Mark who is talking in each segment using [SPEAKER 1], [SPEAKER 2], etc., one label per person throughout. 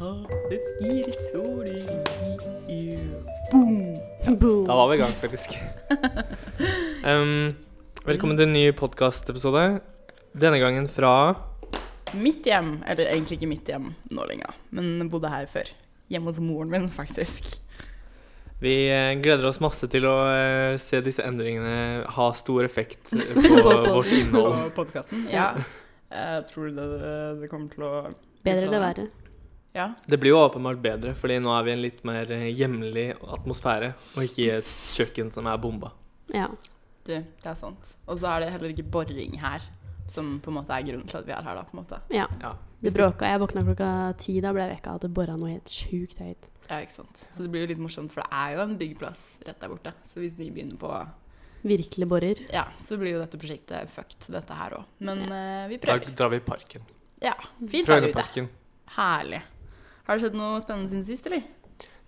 [SPEAKER 1] har et gilt story i
[SPEAKER 2] Boom.
[SPEAKER 1] Da var vi i gang, faktisk. um, velkommen til en ny podkastepisode. Denne gangen fra
[SPEAKER 2] Mitt hjem, eller egentlig ikke mitt hjem nå lenger, men bodde her før. Hjemme hos moren min, faktisk.
[SPEAKER 1] Vi eh, gleder oss masse til å eh, se disse endringene ha stor effekt eh, på
[SPEAKER 3] På-
[SPEAKER 1] vårt innhold.
[SPEAKER 2] På podkasten. Ja.
[SPEAKER 3] Ja.
[SPEAKER 2] Jeg tror det, det kommer til å
[SPEAKER 3] Bedre eller verre?
[SPEAKER 2] Ja.
[SPEAKER 1] Det blir jo åpenbart bedre, fordi nå er vi i en litt mer eh, hjemlig atmosfære, og ikke i et kjøkken som er bomba.
[SPEAKER 3] Ja.
[SPEAKER 2] Du, det er sant. Og så er det heller ikke boring her som på en måte er grunnen til at vi er her, da, på en måte.
[SPEAKER 3] ja.
[SPEAKER 1] Ja.
[SPEAKER 3] Det bråka. Jeg våkna klokka ti, da ble jeg vekka av at det bora noe helt sjukt høyt.
[SPEAKER 2] Ja, ikke sant. Så det blir jo litt morsomt, for det er jo en byggplass rett der borte. Så hvis de begynner på
[SPEAKER 3] Virkelig borer.
[SPEAKER 2] Ja, så blir jo dette prosjektet fucked, dette her òg. Men eh, vi
[SPEAKER 1] Da
[SPEAKER 2] prøver.
[SPEAKER 1] drar vi i parken.
[SPEAKER 2] Ja, fint vær ute.
[SPEAKER 1] Frøyneparken.
[SPEAKER 2] Herlig. Har det skjedd noe spennende siden sist, eller?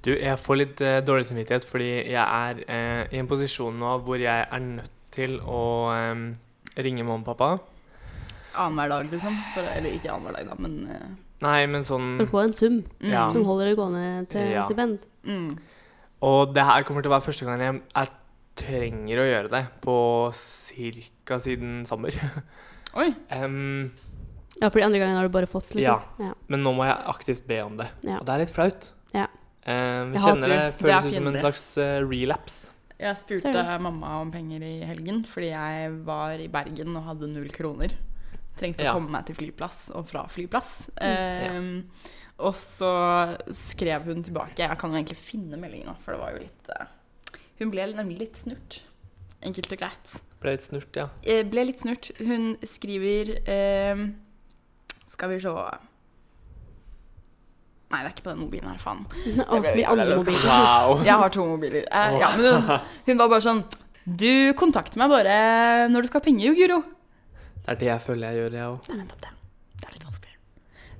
[SPEAKER 1] Du, jeg får litt eh, dårlig samvittighet fordi jeg er eh, i en posisjon nå hvor jeg er nødt til å eh, ringe mamma og pappa.
[SPEAKER 2] Annenhver dag, liksom. For, eller ikke annenhver dag, da, men eh,
[SPEAKER 1] Nei, men sånn
[SPEAKER 3] For å få en sum
[SPEAKER 2] mm,
[SPEAKER 1] Ja.
[SPEAKER 3] som holder det gående til
[SPEAKER 1] Ja.
[SPEAKER 3] stipend.
[SPEAKER 2] Mm.
[SPEAKER 1] Og det her kommer til å være første gangen jeg er, trenger å gjøre det på cirka siden sommer.
[SPEAKER 2] Oi.
[SPEAKER 1] Em,
[SPEAKER 3] Ja, for de andre gangene har du bare fått,
[SPEAKER 1] Ja.
[SPEAKER 3] liksom. Ja.
[SPEAKER 1] men nå må jeg aktivt be om det.
[SPEAKER 3] Ja.
[SPEAKER 1] Og det er litt flaut.
[SPEAKER 3] Ja.
[SPEAKER 1] Em,
[SPEAKER 2] Jeg hater
[SPEAKER 1] kjenner det
[SPEAKER 2] det. Det er
[SPEAKER 1] føles ut som en
[SPEAKER 2] pinlig.
[SPEAKER 1] slags eh, relapse.
[SPEAKER 2] Jeg spurte
[SPEAKER 3] Ser du.
[SPEAKER 2] mamma om penger i helgen fordi jeg var i Bergen og hadde null kroner. Trengte
[SPEAKER 1] Ja. Mm.
[SPEAKER 2] å komme meg til flyplass og fra flyplass. Ehm, Og så skrev hun tilbake. Jeg kan jo egentlig finne meldingen, nå, for det var jo litt eh, Hun ble nemlig litt snurt. Enkelt og greit.
[SPEAKER 1] Ble litt snurt, ja.
[SPEAKER 2] Eh, ble litt snurt. Hun skriver ehm, Skal vi se Nei, det er ikke på den mobilen her, faen.
[SPEAKER 3] Og
[SPEAKER 2] ble
[SPEAKER 3] min
[SPEAKER 2] jævla
[SPEAKER 3] andre
[SPEAKER 2] lokal.
[SPEAKER 3] mobil.
[SPEAKER 1] Wow.
[SPEAKER 2] Jeg har to mobiler. Eh, ja, men hun, hun var bare sånn Du kontakter meg bare når du skal ha penger, jo, Guro.
[SPEAKER 1] Det er det jeg føler jeg gjør, jeg òg.
[SPEAKER 2] Det er nettopp det. Det er litt vanskelig.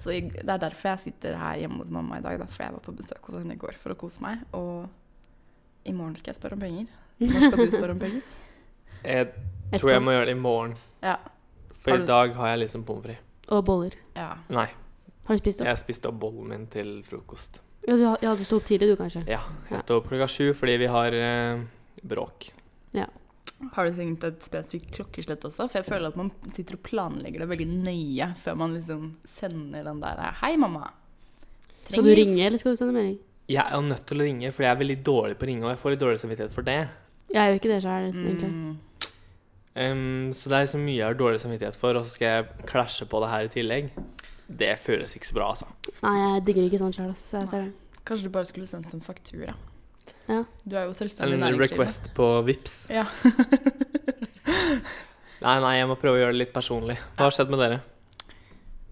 [SPEAKER 2] Så jeg, det er derfor jeg sitter her hjemme hos mamma i dag, da, for jeg var på besøk hos henne i går for å kose meg. Og i morgen skal jeg spørre om penger. Når skal du spørre om penger?
[SPEAKER 1] Jeg tror jeg må gjøre det i morgen,
[SPEAKER 2] Ja.
[SPEAKER 1] for
[SPEAKER 2] Har
[SPEAKER 1] i
[SPEAKER 2] du-
[SPEAKER 1] dag har jeg liksom pommes frites.
[SPEAKER 3] Og boller.
[SPEAKER 2] ja.
[SPEAKER 1] Nei,
[SPEAKER 3] Har du spist opp?
[SPEAKER 1] jeg spiste opp bollen min til frokost.
[SPEAKER 3] Ja, du, har- ja, du sto opp tidlig, du, kanskje?
[SPEAKER 1] Ja,
[SPEAKER 3] Ja.
[SPEAKER 1] jeg står opp klokka sju fordi vi har eh, bråk.
[SPEAKER 2] Har du tenkt et spesifikt klokkeslett også? For jeg føler at man sitter og planlegger det veldig nøye før man liksom sender den der Hei, mamma.
[SPEAKER 3] Skal du ringe, eller skal du sende melding?
[SPEAKER 1] Jeg er jo nødt til å ringe, fordi jeg er veldig dårlig på å ringe, og jeg får litt dårlig samvittighet for det.
[SPEAKER 3] Jeg gjør ikke det sjøl, egentlig.
[SPEAKER 2] Mm.
[SPEAKER 1] Ehm, så det er liksom mye jeg har dårlig samvittighet for, og så skal jeg klasje på det her i tillegg. Det føles ikke så bra, altså.
[SPEAKER 3] Nei, jeg digger ikke sånt sjøl, så jeg ser det.
[SPEAKER 2] Kanskje du bare skulle sendt en faktura.
[SPEAKER 3] Ja.
[SPEAKER 2] Du er jo selvstendig
[SPEAKER 1] En
[SPEAKER 2] næringsdrivende.
[SPEAKER 1] request på Vips.
[SPEAKER 2] Ja.
[SPEAKER 1] Nei, nei, jeg må prøve å gjøre det litt personlig. Hva har skjedd med dere?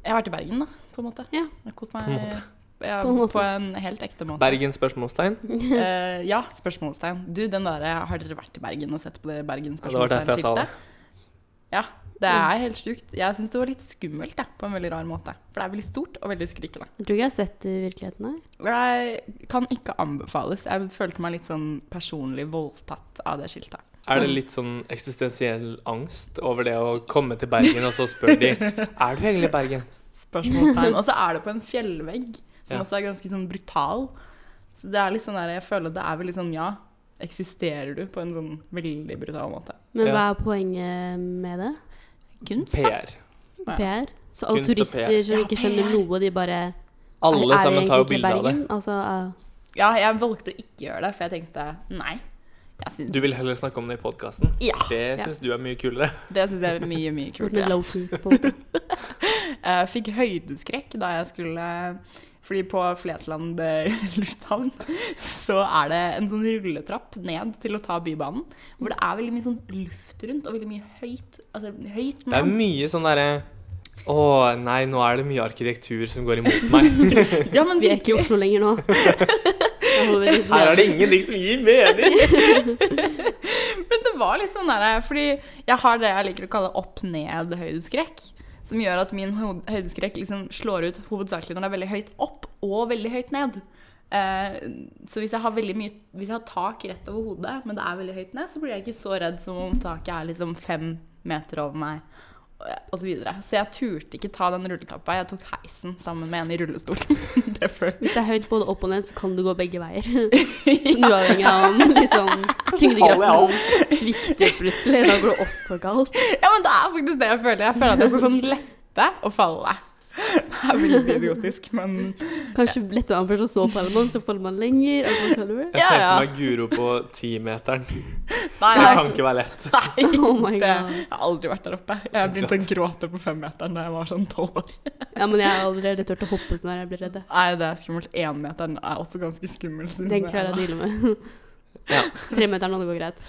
[SPEAKER 2] Jeg har vært i Bergen, da, på en måte.
[SPEAKER 3] Ja.
[SPEAKER 2] Jeg har kost meg
[SPEAKER 1] På en måte.
[SPEAKER 2] Ja,
[SPEAKER 3] På en måte.
[SPEAKER 2] på en helt ekte måte.
[SPEAKER 1] Bergen? spørsmålstegn?
[SPEAKER 2] Eh, ja, spørsmålstegn. Du, den derre Har dere vært i Bergen og sett på det Bergen
[SPEAKER 1] Ja, det var derfor jeg sa det.
[SPEAKER 2] spørsmålstegnskiltet? Ja, det er helt sjukt. Jeg syns det var litt skummelt, da, på en veldig rar måte. For det er veldig stort og veldig skrikende.
[SPEAKER 3] Jeg tror ikke jeg har sett det i virkeligheten, nei.
[SPEAKER 2] Jeg kan ikke anbefales. Jeg følte meg litt sånn personlig voldtatt av det skiltet.
[SPEAKER 1] Er det litt sånn eksistensiell angst over det å komme til Bergen, og så spør de Er du egentlig i Bergen?
[SPEAKER 2] Spørsmålstegn. Og så er det på en fjellvegg, som
[SPEAKER 1] Ja.
[SPEAKER 2] også er ganske sånn brutal. Så det er litt sånn der, jeg føler det er veldig sånn, ja, eksisterer du på en sånn veldig brutal måte?
[SPEAKER 3] Men
[SPEAKER 1] Ja.
[SPEAKER 3] hva er poenget med det?
[SPEAKER 2] Kunst, da.
[SPEAKER 1] PR.
[SPEAKER 2] Ja.
[SPEAKER 3] PR? Så alle
[SPEAKER 1] Kunst og
[SPEAKER 3] turister
[SPEAKER 1] PR.
[SPEAKER 3] som
[SPEAKER 2] Ja,
[SPEAKER 3] ikke
[SPEAKER 2] PR.
[SPEAKER 3] skjønner noe, de bare er- er
[SPEAKER 1] Alle
[SPEAKER 3] vi
[SPEAKER 1] sammen tar jo
[SPEAKER 3] egentlig i
[SPEAKER 1] bilde av det.
[SPEAKER 3] Bergen? Altså, ja.
[SPEAKER 2] Ja, jeg valgte å ikke gjøre det, for jeg tenkte, nei, jeg synes,
[SPEAKER 1] Du vil heller snakke om det i podkasten?
[SPEAKER 2] Ja.
[SPEAKER 1] Det
[SPEAKER 3] Ja.
[SPEAKER 1] syns du er mye kulere.
[SPEAKER 2] det synes jeg er mye, mye
[SPEAKER 3] gjort
[SPEAKER 2] kulere.
[SPEAKER 3] med low-key på.
[SPEAKER 2] Jeg fikk høydeskrekk da jeg skulle, fordi på Flesland eh, lufthavn, så er det en sånn rulletrapp ned til å ta bybanen, hvor det er veldig mye sånn luft rundt, og veldig mye høyt, altså høyt
[SPEAKER 1] Det er
[SPEAKER 2] ned.
[SPEAKER 1] mye sånn derre Å nei, nå er det mye arkitektur som går imot meg.
[SPEAKER 2] Ja, men
[SPEAKER 3] Vi er ikke i
[SPEAKER 2] virkelig.
[SPEAKER 3] Oslo lenger nå. Jeg holder litt
[SPEAKER 1] Her er det ingenting som gir mening!
[SPEAKER 2] Men det var litt sånn der, fordi jeg har det jeg liker å kalle opp-ned-høydeskrekk. Som gjør at min ho- høydeskrekk liksom slår ut hovedsakelig når det er veldig høyt opp og veldig høyt ned. Eh, så hvis jeg, har veldig mye, hvis jeg har tak rett over hodet, men det er veldig høyt ned, så blir jeg ikke så redd som om taket er liksom fem meter over meg og så videre. Så jeg turte ikke ta den rulletrappa. Jeg tok heisen sammen med en i rullestol. Derfor.
[SPEAKER 3] Hvis det er høyt både opp og ned, så kan det gå begge veier. Sånn
[SPEAKER 2] Ja.
[SPEAKER 3] Uavhengig av om liksom, tyngdekraften svikter plutselig. Da går det også galt.
[SPEAKER 2] ja, men det er faktisk det jeg føler. Jeg føler at jeg skal sånn lette og falle. Det er veldig idiotisk, men
[SPEAKER 3] Kanskje letter man først, og så faller man, så faller man lenger. og så faller man.
[SPEAKER 1] Jeg ser
[SPEAKER 2] Ja,
[SPEAKER 1] for
[SPEAKER 2] ja.
[SPEAKER 1] meg Guro på timeteren.
[SPEAKER 2] Nei,
[SPEAKER 1] Det kan ikke være lett.
[SPEAKER 2] nei.
[SPEAKER 3] Oh my
[SPEAKER 2] det,
[SPEAKER 3] God.
[SPEAKER 2] jeg har aldri vært der oppe. Jeg begynte å gråte på femmeteren da jeg var sånn tolv år.
[SPEAKER 3] Ja, men jeg har allerede turt å hoppe sånn her, jeg blir redd.
[SPEAKER 2] Nei, det er skummelt. Énmeteren er også ganske skummel. synes
[SPEAKER 3] Den
[SPEAKER 2] jeg,
[SPEAKER 3] klarer jeg å
[SPEAKER 2] da.
[SPEAKER 3] deale med.
[SPEAKER 1] Ja.
[SPEAKER 3] Tremeteren, og det går greit.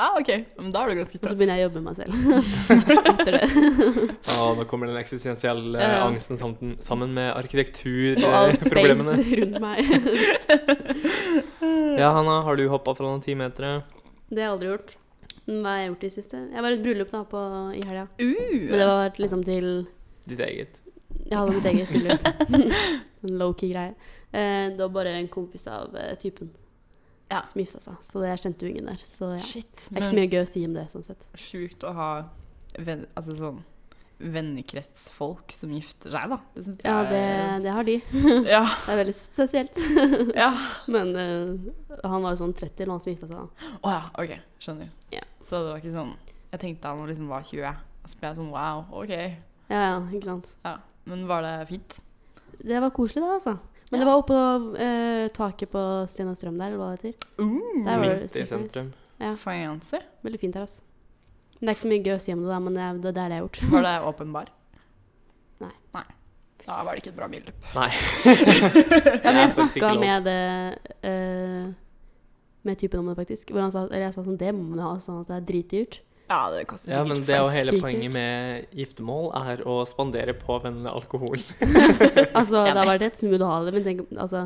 [SPEAKER 2] Ah, ok, men da er du ganske
[SPEAKER 3] Og så
[SPEAKER 2] tøff.
[SPEAKER 3] begynner jeg å jobbe med meg selv. Etter det.
[SPEAKER 1] Å, nå kommer den eksistensielle
[SPEAKER 3] Ja.
[SPEAKER 1] angsten sammen, sammen med eh,
[SPEAKER 3] Og alt space
[SPEAKER 1] arkitekturproblemene.
[SPEAKER 3] rundt meg.
[SPEAKER 1] Ja, Hanna, har du hoppa fra noen timetere?
[SPEAKER 3] Det har jeg aldri gjort. Men Hva har jeg gjort i siste? Jeg var i et bryllup da, på, i helga. Men det
[SPEAKER 2] Uh,
[SPEAKER 3] var liksom til
[SPEAKER 1] Ditt eget.
[SPEAKER 3] Jeg hadde mitt eget bryllup. Sånn low-key greie. Eh, det var bare en kompis av eh, typen
[SPEAKER 2] Ja.
[SPEAKER 3] som gifta seg, så jeg kjente jo ingen der. Så ja.
[SPEAKER 2] shit.
[SPEAKER 3] Det er ikke så
[SPEAKER 2] men-
[SPEAKER 3] mye gøy å si om det, sånn sett.
[SPEAKER 2] sjukt å ha venn, altså sånn vennekretsfolk som gifter seg, da. Det syns
[SPEAKER 3] Ja, det,
[SPEAKER 2] jeg
[SPEAKER 3] det har de.
[SPEAKER 2] ja,
[SPEAKER 3] Det er veldig spesielt.
[SPEAKER 2] ja.
[SPEAKER 3] Men eh, han var jo sånn 30 da han som gifta seg, da.
[SPEAKER 2] Å ja, OK. Skjønner.
[SPEAKER 3] Ja.
[SPEAKER 2] Så det var ikke sånn Jeg tenkte han liksom var 20, og så ble jeg sånn wow, OK.
[SPEAKER 3] Ja, ja, ikke sant.
[SPEAKER 2] Ja. Men var det fint?
[SPEAKER 3] Det var koselig, da, altså. Men det var oppå eh, taket på Sten og Strøm der, eller hva det heter.
[SPEAKER 2] Uh,
[SPEAKER 3] Der var det
[SPEAKER 1] Midt i
[SPEAKER 3] sykt
[SPEAKER 1] sentrum.
[SPEAKER 3] ja.
[SPEAKER 2] Fancy.
[SPEAKER 3] Veldig fint her, altså. Men det er ikke så mye gøy å si om det, da, men det er det, er det jeg har gjort.
[SPEAKER 2] Var det åpenbar?
[SPEAKER 3] Nei.
[SPEAKER 2] Nei. Da var det ikke et bra bryllup.
[SPEAKER 3] Ja, men
[SPEAKER 1] Det er
[SPEAKER 3] jeg
[SPEAKER 1] faktisk ikke
[SPEAKER 3] snakka
[SPEAKER 1] lov.
[SPEAKER 3] med det eh, Med typen om det, faktisk. Hvor han sa, eller jeg sa sånn Det må man ha, sånn at det er dritdyrt.
[SPEAKER 2] Ja, det koster
[SPEAKER 1] Ja,
[SPEAKER 2] sikkert
[SPEAKER 1] men det er jo hele
[SPEAKER 3] Sikkert.
[SPEAKER 1] poenget med giftermål, er å spandere på vennene alkohol.
[SPEAKER 3] Altså,
[SPEAKER 2] Jeg
[SPEAKER 3] det har vært rett, så må du ha det, men tenk altså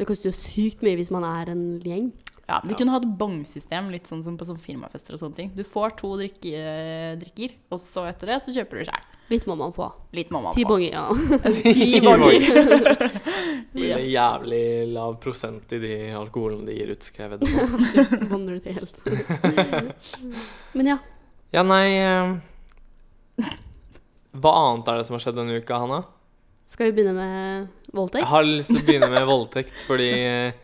[SPEAKER 3] Det koster jo sykt mye hvis man er en gjeng.
[SPEAKER 2] Ja, Vi kunne hatt bongsystem, litt sånn som på sånn firmafester og sånne ting. Du får to drikke, eh, drikker, og så etter det så kjøper du sjæl.
[SPEAKER 3] Litt må man få.
[SPEAKER 2] Litt må man
[SPEAKER 3] Ti
[SPEAKER 2] få.
[SPEAKER 3] bonger, ja.
[SPEAKER 2] Ti bonger.
[SPEAKER 1] Med
[SPEAKER 2] Yes.
[SPEAKER 1] jævlig lav prosent i de alkoholene de gir ut, skal jeg vedde på.
[SPEAKER 3] Bonner ut helt. Men ja.
[SPEAKER 1] Ja, nei eh, Hva annet er det som har skjedd denne uka, Hanna?
[SPEAKER 3] Skal vi begynne med
[SPEAKER 1] Jeg
[SPEAKER 3] voldtekt?
[SPEAKER 1] har lyst til å begynne med voldtekt, fordi eh,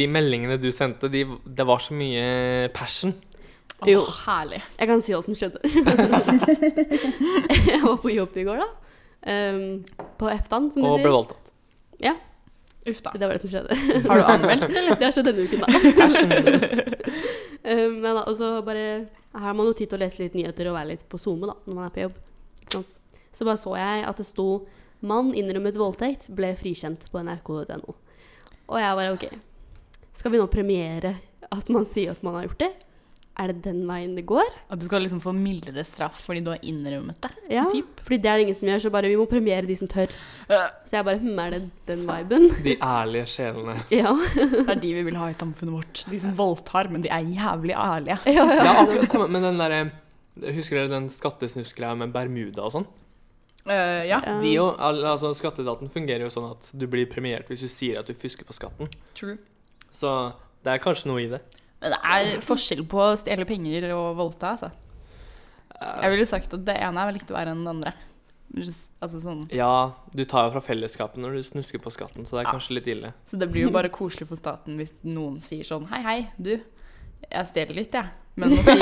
[SPEAKER 1] de meldingene du sendte, de, det var så mye passion.
[SPEAKER 2] Åh,
[SPEAKER 3] Jo.
[SPEAKER 2] herlig.
[SPEAKER 3] Jeg kan si alt som skjedde. jeg var på jobb i går, da. Ehm, på Eftan, som
[SPEAKER 1] Og
[SPEAKER 3] du
[SPEAKER 1] ble
[SPEAKER 3] sier.
[SPEAKER 1] voldtatt.
[SPEAKER 2] Uff da.
[SPEAKER 3] Det var det som skjedde.
[SPEAKER 2] Har du anmeldt, eller?
[SPEAKER 3] Det har skjedd denne uken, da. um, nei da, og så bare Her har man jo tid til å lese litt nyheter og være litt på SoMe, da, når man er på jobb. Ikke sant? Så bare så jeg at det sto 'Mann innrømmet voldtekt, ble frikjent' på nrk.no. Og jeg bare OK. Skal vi nå premiere at man sier at man har gjort det? Er det den veien det går?
[SPEAKER 2] At du skal liksom få mildere straff fordi du har innrømmet det?
[SPEAKER 3] Ja.
[SPEAKER 2] Typ.
[SPEAKER 3] Fordi det er det ingen som gjør, så bare vi må premiere de som tør.
[SPEAKER 2] Eh,
[SPEAKER 3] Så jeg bare Hm, er det den viben?
[SPEAKER 1] De ærlige sjelene.
[SPEAKER 3] Ja.
[SPEAKER 2] Det er de vi vil ha i samfunnet vårt. De som voldtar, men de er jævlig ærlige.
[SPEAKER 3] ja,
[SPEAKER 1] Det
[SPEAKER 3] ja.
[SPEAKER 1] er akkurat det samme med den derre Husker dere den skattesnuskgreia med Bermuda og sånn?
[SPEAKER 2] Eh, ja,
[SPEAKER 1] De jo, al- altså Skatteetaten fungerer jo sånn at du blir premiert hvis du sier at du fusker på skatten.
[SPEAKER 2] true.
[SPEAKER 1] Så det er kanskje noe i det.
[SPEAKER 2] Men det er forskjell på å stjele penger og voldta, altså. Jeg ville sagt at det ene er vel litt verre enn det andre. Just, altså sånn.
[SPEAKER 1] Eh, Ja, du tar jo fra fellesskapet når du snusker på skatten, så det er
[SPEAKER 2] Ja.
[SPEAKER 1] kanskje litt ille.
[SPEAKER 2] Så det blir jo bare koselig for staten hvis noen sier sånn Hei, hei, du. Jeg stjeler litt, jeg. Men å, si,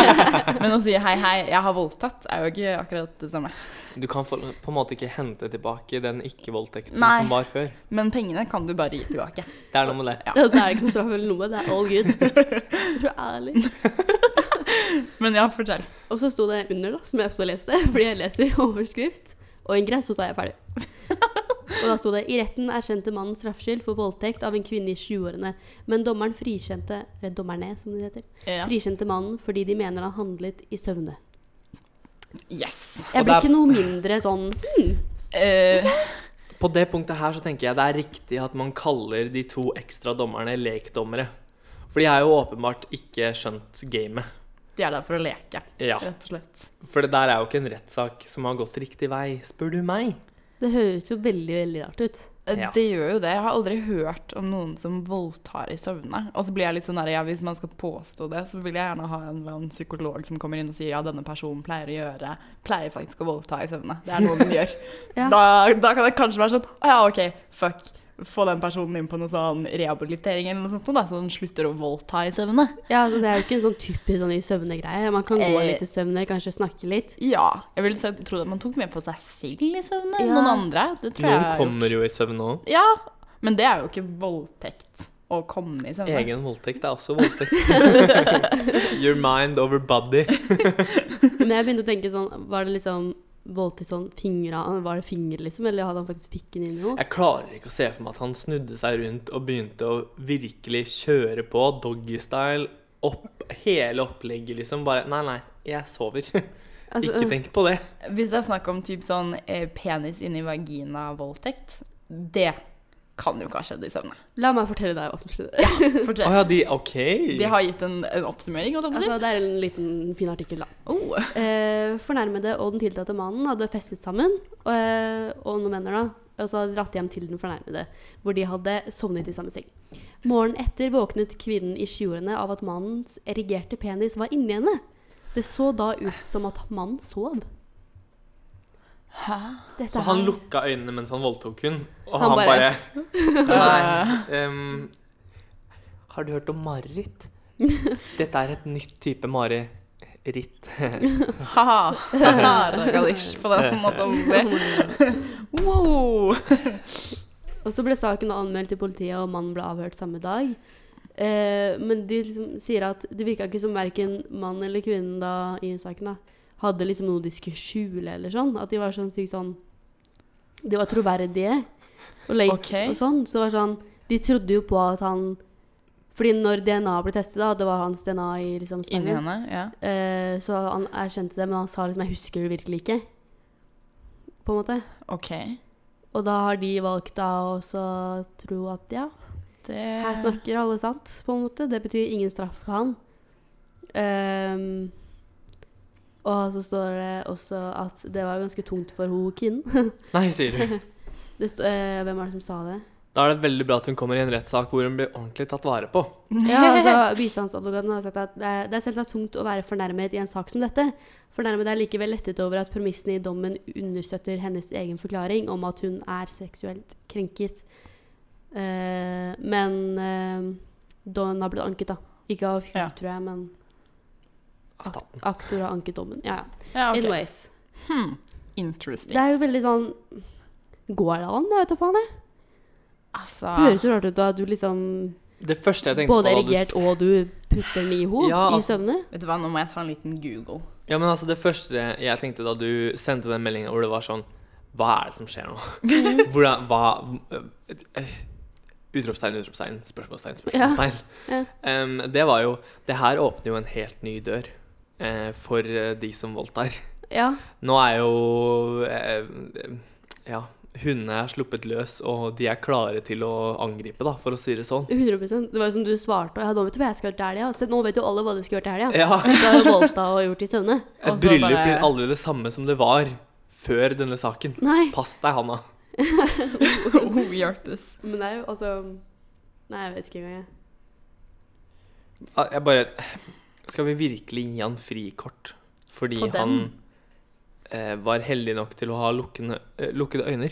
[SPEAKER 2] men å si hei, hei, jeg har voldtatt, er jo ikke akkurat det samme.
[SPEAKER 1] Du kan få, på en måte ikke hente tilbake den ikke-voldtekten
[SPEAKER 2] Nei.
[SPEAKER 1] som var før.
[SPEAKER 2] Men pengene kan du bare gi tilbake.
[SPEAKER 1] Det er noe med det.
[SPEAKER 2] Ja.
[SPEAKER 3] Det er ikke noe straff eller noe. Det er all good. Jeg er Så ærlig.
[SPEAKER 2] Men ja, fortell.
[SPEAKER 3] Og så sto det under, da, som jeg også leste, fordi jeg leser overskrift og ingress, og så er jeg ferdig. Og da sto det i retten erkjente mannen straffskyld for voldtekt av en kvinne i 20-årene, men dommeren frikjente eller dommerne, som det heter,
[SPEAKER 2] Ja.
[SPEAKER 3] frikjente mannen fordi de mener han handlet i søvne.
[SPEAKER 2] Yes.
[SPEAKER 1] Og
[SPEAKER 3] Jeg blir
[SPEAKER 1] det er-
[SPEAKER 3] ikke noe mindre sånn hmm,
[SPEAKER 2] Eh,
[SPEAKER 1] På det punktet her så tenker jeg det er riktig at man kaller de to ekstra dommerne lekdommere. For de har jo åpenbart ikke skjønt gamet.
[SPEAKER 2] de er der for å leke,
[SPEAKER 1] Ja,
[SPEAKER 2] rett og slett.
[SPEAKER 1] For det der er jo ikke en rettssak som har gått riktig vei, spør du meg.
[SPEAKER 3] Det høres jo veldig, veldig rart ut.
[SPEAKER 2] Eh,
[SPEAKER 1] Ja.
[SPEAKER 2] Det gjør jo det. Jeg har aldri hørt om noen som voldtar i søvne. Og så blir jeg litt sånn der, ja, Hvis man skal påstå det, så vil jeg gjerne ha en eller annen psykolog som kommer inn og sier ja, denne personen pleier å gjøre Pleier faktisk å voldta i søvne. Det er noe den gjør.
[SPEAKER 3] Ja.
[SPEAKER 2] da, da kan det kanskje være sånn Å ja, OK, fuck. Få den personen inn på noe sånn rehabilitering eller noe sånt, noe da, så den slutter å voldta i søvne.
[SPEAKER 3] Ja, altså, det er jo ikke en sånn typisk sånn i søvne-greie. Man kan gå
[SPEAKER 2] Eh.
[SPEAKER 3] litt i søvne, kanskje snakke litt.
[SPEAKER 2] Ja. Jeg ville se- trodd at man tok mer på seg selv i søvne enn
[SPEAKER 3] Ja.
[SPEAKER 2] noen andre. Det tror
[SPEAKER 1] Noen
[SPEAKER 2] jeg jeg har
[SPEAKER 1] kommer jo i søvn òg.
[SPEAKER 2] gjort. Ja, men det er jo ikke voldtekt å komme i søvne.
[SPEAKER 1] Egen voldtekt er også voldtekt. Your mind over body.
[SPEAKER 3] Men jeg begynte å tenke sånn Var det liksom voldtekt sånn fingra Var det finger, liksom? Eller hadde han faktisk pikken inni noe?
[SPEAKER 1] Jeg klarer ikke å se for meg at han snudde seg rundt og begynte å virkelig kjøre på doggystyle. Opp, hele opplegget, liksom. Bare Nei, nei, jeg sover.
[SPEAKER 3] Altså,
[SPEAKER 1] ikke tenk på det.
[SPEAKER 2] Hvis det er snakk om typ sånn eh, penis inni vagina-voldtekt, det kan jo ikke ha skjedd i søvne.
[SPEAKER 3] La meg fortelle deg hva som skjedde.
[SPEAKER 2] For
[SPEAKER 1] Å
[SPEAKER 2] det,
[SPEAKER 1] ja, de OK.
[SPEAKER 2] det har gitt en, en oppsummering. holdt jeg på å si.
[SPEAKER 3] Altså, det er en liten fin artikkel, da.
[SPEAKER 2] Oh.
[SPEAKER 3] Eh, fornærmede og den tiltalte mannen hadde festet sammen, eh, og noen venner, da. Og så hadde dratt hjem til den fornærmede, hvor de hadde sovnet i samme seng. Morgenen etter våknet kvinnen i 20-årene av at mannens erigerte penis var inni henne. Det så da ut som at mannen sov.
[SPEAKER 2] Hæ?
[SPEAKER 3] Dette
[SPEAKER 1] Så han
[SPEAKER 3] her-
[SPEAKER 1] lukka øynene mens han voldtok hun, og
[SPEAKER 3] Han
[SPEAKER 1] han, bare,
[SPEAKER 3] bare-
[SPEAKER 1] Nei. ehm, har du hørt om mareritt? Dette er et nytt type mareritt.
[SPEAKER 2] Ha-ha. Ragadish på den måten. å si. Wow.
[SPEAKER 3] Og så ble saken da anmeldt til politiet, og mannen ble avhørt samme dag. Eh, men de liksom sier at det virka ikke som verken mann eller kvinnen da i saken da, hadde liksom noe de skulle skjule, eller sånn. At de var sånn sykt sånn De var troverdige og, legg-
[SPEAKER 2] Ok.
[SPEAKER 3] og sånn. Så det var sånn De trodde jo på at han Fordi når DNA ble testet, da, det var hans DNA i liksom
[SPEAKER 2] Inni
[SPEAKER 3] spermen,
[SPEAKER 2] henne, ja.
[SPEAKER 3] eh, så han erkjente det, men han sa liksom 'Jeg husker det virkelig ikke'. På en måte.
[SPEAKER 2] OK.
[SPEAKER 3] Og da har de valgt da å også tro at ja,
[SPEAKER 2] Det
[SPEAKER 3] her snakker alle sant, på en måte. Det betyr ingen straff for han. Ehm, og så står det også at det var ganske tungt for ho kvinnen.
[SPEAKER 1] Nei, sier hun.
[SPEAKER 3] Det sto- eh, hvem var det som sa det?
[SPEAKER 1] Da er det veldig bra at hun kommer i en rettssak hvor hun blir ordentlig tatt vare på.
[SPEAKER 3] Ja, altså Bistandsadvokaten har sagt at det er, det er selvsagt tungt å være fornærmet i en sak som dette. Fornærmede er likevel lettet over at premissene i dommen understøtter hennes egen forklaring om at hun er seksuelt krenket. Eh, men eh, dommen har blitt anket, da. Ikke av hun,
[SPEAKER 2] Ja.
[SPEAKER 3] tror jeg, men Ah.
[SPEAKER 1] Av staten.
[SPEAKER 3] aktor har anket dommen. Ja, ja.
[SPEAKER 2] ja, ok.
[SPEAKER 3] Anyways.
[SPEAKER 2] Hmm.
[SPEAKER 3] Det
[SPEAKER 2] Interesting.
[SPEAKER 3] er jo veldig sånn Går det an? Jeg vet da faen, jeg.
[SPEAKER 2] Altså
[SPEAKER 3] Høres jo rart ut da at du liksom
[SPEAKER 1] Det første jeg tenkte på
[SPEAKER 3] både
[SPEAKER 1] da du
[SPEAKER 3] erigert og du putter den i henne
[SPEAKER 1] Ja,
[SPEAKER 3] i
[SPEAKER 1] altså-
[SPEAKER 3] søvne.
[SPEAKER 2] Vet du hva, nå må jeg ta en liten Google.
[SPEAKER 1] Ja, men altså Det første jeg tenkte da du sendte den meldingen hvor det var sånn Hva er det som skjer nå?
[SPEAKER 3] Mhm.
[SPEAKER 1] Hvordan Hva eh, Utropstegn, utropstegn, spørsmålstegn, spørsmålstegn.
[SPEAKER 3] Ja,
[SPEAKER 1] Em, det var jo Det her åpner jo en helt ny dør eh, for eh, de som voldtar.
[SPEAKER 3] Ja.
[SPEAKER 1] Nå er jo eh, Ja, hundene er sluppet løs, og de er klare til å angripe, da, for å si det sånn.
[SPEAKER 3] 100 Det var jo som du svarte. og Ja, nå vet du hva jeg skal gjøre til helga. Se, nå vet jo alle hva de skal gjøre til helga.
[SPEAKER 1] Ja.
[SPEAKER 3] Du har jo voldta og gjort i søvne.
[SPEAKER 1] Et
[SPEAKER 2] Og så
[SPEAKER 1] bryllup
[SPEAKER 2] bare-
[SPEAKER 1] blir aldri det samme som det var før denne saken.
[SPEAKER 3] Nei.
[SPEAKER 1] Pass deg, Hanna.
[SPEAKER 2] oh, hjertes.
[SPEAKER 3] Men det er jo altså Nei, jeg vet ikke engang, jeg.
[SPEAKER 1] Ja, Jeg bare Skal vi virkelig gi han frikort? Fordi
[SPEAKER 2] På den?
[SPEAKER 1] han eh, var heldig nok til å ha lukkende, eh, lukkede øyne.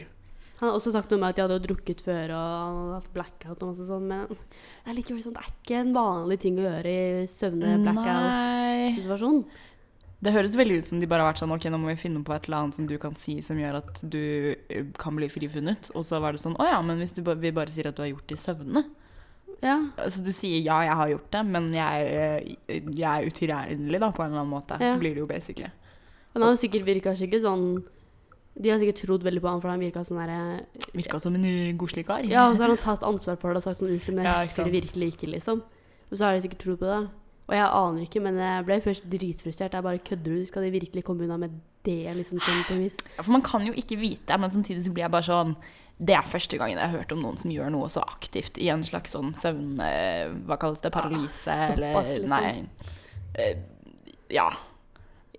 [SPEAKER 3] Han har også sagt noe om at de hadde jo drukket før og han hadde hatt blackout og masse sånn, men det er likevel sånn, det er ikke en vanlig ting å gjøre i søvne-blackout-situasjon.
[SPEAKER 2] Nei. Det høres veldig ut som de bare har vært sånn Ok, nå må vi finne på et eller annet som du kan si som gjør at du eh, kan bli frifunnet. Og så var det sånn Å ja, men hvis du ba, vi bare sier at du har gjort det i søvne
[SPEAKER 3] Ja.
[SPEAKER 2] Altså du sier ja, jeg har gjort det, men jeg, eh, jeg er utilregnelig, da, på en eller annen måte.
[SPEAKER 3] Ja.
[SPEAKER 2] Blir det jo basically.
[SPEAKER 3] Han har jo sikkert virka sikkert sånn De har sikkert trodd veldig på han, for han virka sånn derre
[SPEAKER 2] Virka som en eh, godslig kar.
[SPEAKER 3] Ja, og så har han tatt ansvar for det og sagt sånn unnskyld, men jeg
[SPEAKER 2] Ja, ikke
[SPEAKER 3] husker det
[SPEAKER 2] sant.
[SPEAKER 3] virkelig ikke, liksom. Og så har de sikkert tro på det. Og jeg aner ikke, men jeg ble først dritfrustrert. Jeg bare kødder du? Skal de virkelig komme unna med det, liksom, sånn på en vis?
[SPEAKER 2] Ja, For man kan jo ikke vite, men samtidig så blir jeg bare sånn Det er første gangen jeg har hørt om noen som gjør noe så aktivt i en slags sånn søvn...
[SPEAKER 3] Ah, liksom.
[SPEAKER 2] eh, Hva kalles det? Paralyse?
[SPEAKER 3] såpass,
[SPEAKER 2] eller
[SPEAKER 3] liksom.
[SPEAKER 2] Nei. Eh, ja.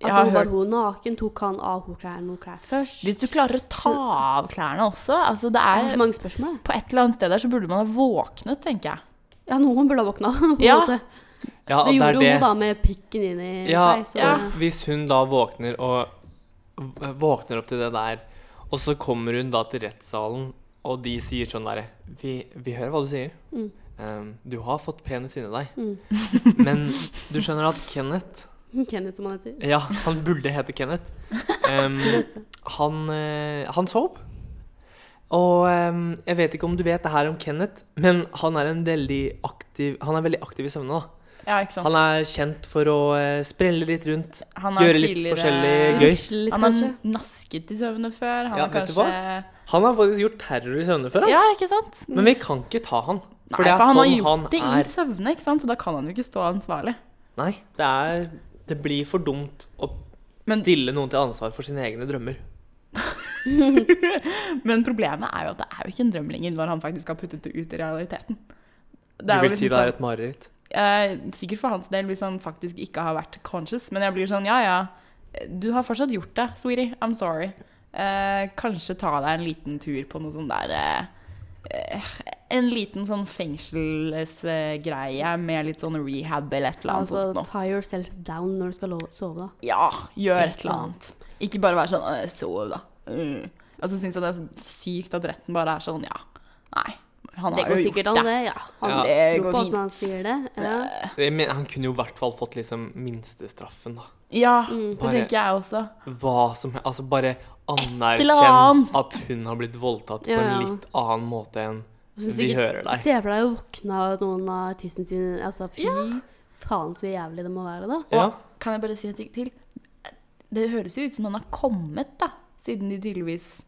[SPEAKER 2] Jeg
[SPEAKER 3] Altså,
[SPEAKER 2] har
[SPEAKER 3] Var
[SPEAKER 2] hørt-
[SPEAKER 3] hun naken? Tok han av hun klær noen klær først?
[SPEAKER 2] Hvis du klarer å ta av klærne også altså det
[SPEAKER 3] Jeg har
[SPEAKER 2] er,
[SPEAKER 3] så mange spørsmål. jeg.
[SPEAKER 2] På et eller annet sted der så burde man ha våknet, tenker jeg.
[SPEAKER 3] Ja, noen burde ha våkna. på en
[SPEAKER 2] Ja.
[SPEAKER 3] måte.
[SPEAKER 1] Ja,
[SPEAKER 3] Det gjorde
[SPEAKER 1] er
[SPEAKER 3] jo hun da med pikken inn i
[SPEAKER 1] Ja,
[SPEAKER 3] seg. Så,
[SPEAKER 2] ja.
[SPEAKER 1] og hvis hun da våkner og v- våkner opp til det der, og så kommer hun da til rettssalen, og de sier sånn derre vi, vi hører hva du sier.
[SPEAKER 3] Mm.
[SPEAKER 1] Ehm, du har fått penis inni deg.
[SPEAKER 3] Mm.
[SPEAKER 1] Men du skjønner at Kenneth
[SPEAKER 3] Kenneth, som han heter.
[SPEAKER 1] Ja, han burde hete Kenneth. Ehm, han, eh, han sov. Og ehm, jeg vet ikke om du vet det her om Kenneth, men han er en veldig aktiv Han er veldig aktiv i søvne. da.
[SPEAKER 2] Ja, ikke sant?
[SPEAKER 1] Han er kjent for å eh, sprelle litt rundt.
[SPEAKER 2] Han
[SPEAKER 1] gjøre litt forskjellig gøy.
[SPEAKER 3] Litt,
[SPEAKER 2] Han har
[SPEAKER 3] kanskje.
[SPEAKER 2] nasket i søvne før. Han
[SPEAKER 1] Ja,
[SPEAKER 2] har
[SPEAKER 1] vet du
[SPEAKER 2] kanskje
[SPEAKER 1] Han har faktisk gjort terror i søvne før. han.
[SPEAKER 2] Ja, ikke sant?
[SPEAKER 1] Men vi kan ikke ta han.
[SPEAKER 2] Nei,
[SPEAKER 1] For det er
[SPEAKER 2] for han har
[SPEAKER 1] sånn
[SPEAKER 2] gjort
[SPEAKER 1] han
[SPEAKER 2] det i
[SPEAKER 1] er.
[SPEAKER 2] søvne, ikke sant? så da kan han jo ikke stå ansvarlig.
[SPEAKER 1] Nei, det er Det blir for dumt å
[SPEAKER 2] Men-
[SPEAKER 1] stille noen til ansvar for sine egne drømmer.
[SPEAKER 2] Men problemet er jo at det er jo ikke en drøm lenger når han faktisk har puttet det ut i realiteten. Det
[SPEAKER 1] Du
[SPEAKER 2] er jo
[SPEAKER 1] vil si det
[SPEAKER 2] liksom
[SPEAKER 1] er et mareritt.
[SPEAKER 2] sånn, eh, sikkert for hans del hvis han faktisk ikke har vært conscious, men jeg blir sånn ja ja, du har fortsatt gjort det, sweetie. I'm sorry. Eh, kanskje ta deg en liten tur på noe sånn der eh, eh, En liten sånn fengselsgreie med litt sånn rehab eller et eller annet
[SPEAKER 3] Altså,
[SPEAKER 2] sånt noe.
[SPEAKER 3] tie yourself down når du skal lo- sove, da.
[SPEAKER 2] Ja, gjør et
[SPEAKER 3] Et
[SPEAKER 2] eller
[SPEAKER 3] eller
[SPEAKER 2] annet. Ikke bare være sånn «Øh, Sov, da. Øh. Og så syns jeg det er sykt at retten bare er sånn Ja, nei. Han
[SPEAKER 3] Det
[SPEAKER 2] har jo
[SPEAKER 3] går sikkert
[SPEAKER 2] gjort det.
[SPEAKER 3] an, det. Ja. Han
[SPEAKER 1] Ja.
[SPEAKER 2] Det
[SPEAKER 3] tror
[SPEAKER 2] går
[SPEAKER 3] på
[SPEAKER 2] fint.
[SPEAKER 3] åssen han sier det. Ja.
[SPEAKER 1] Jeg mener, han kunne jo i hvert fall fått liksom minstestraffen, da.
[SPEAKER 2] Ja,
[SPEAKER 3] Mm.
[SPEAKER 2] det
[SPEAKER 1] Bare-
[SPEAKER 2] tenker jeg også.
[SPEAKER 1] Hva som Altså, bare anerkjenn
[SPEAKER 2] annet.
[SPEAKER 1] at hun har blitt voldtatt på
[SPEAKER 3] Ja,
[SPEAKER 1] en
[SPEAKER 3] ja.
[SPEAKER 1] litt annen måte enn
[SPEAKER 3] Jeg synes
[SPEAKER 1] vi
[SPEAKER 3] sikkert-
[SPEAKER 1] hører deg.
[SPEAKER 3] Se for deg å våkne av at noen av tissen sin Altså, fy faen så jævlig det må være, da.
[SPEAKER 1] Ja.
[SPEAKER 2] Kan jeg bare si en ting til? Det høres jo ut som han har kommet, da. Siden de tydeligvis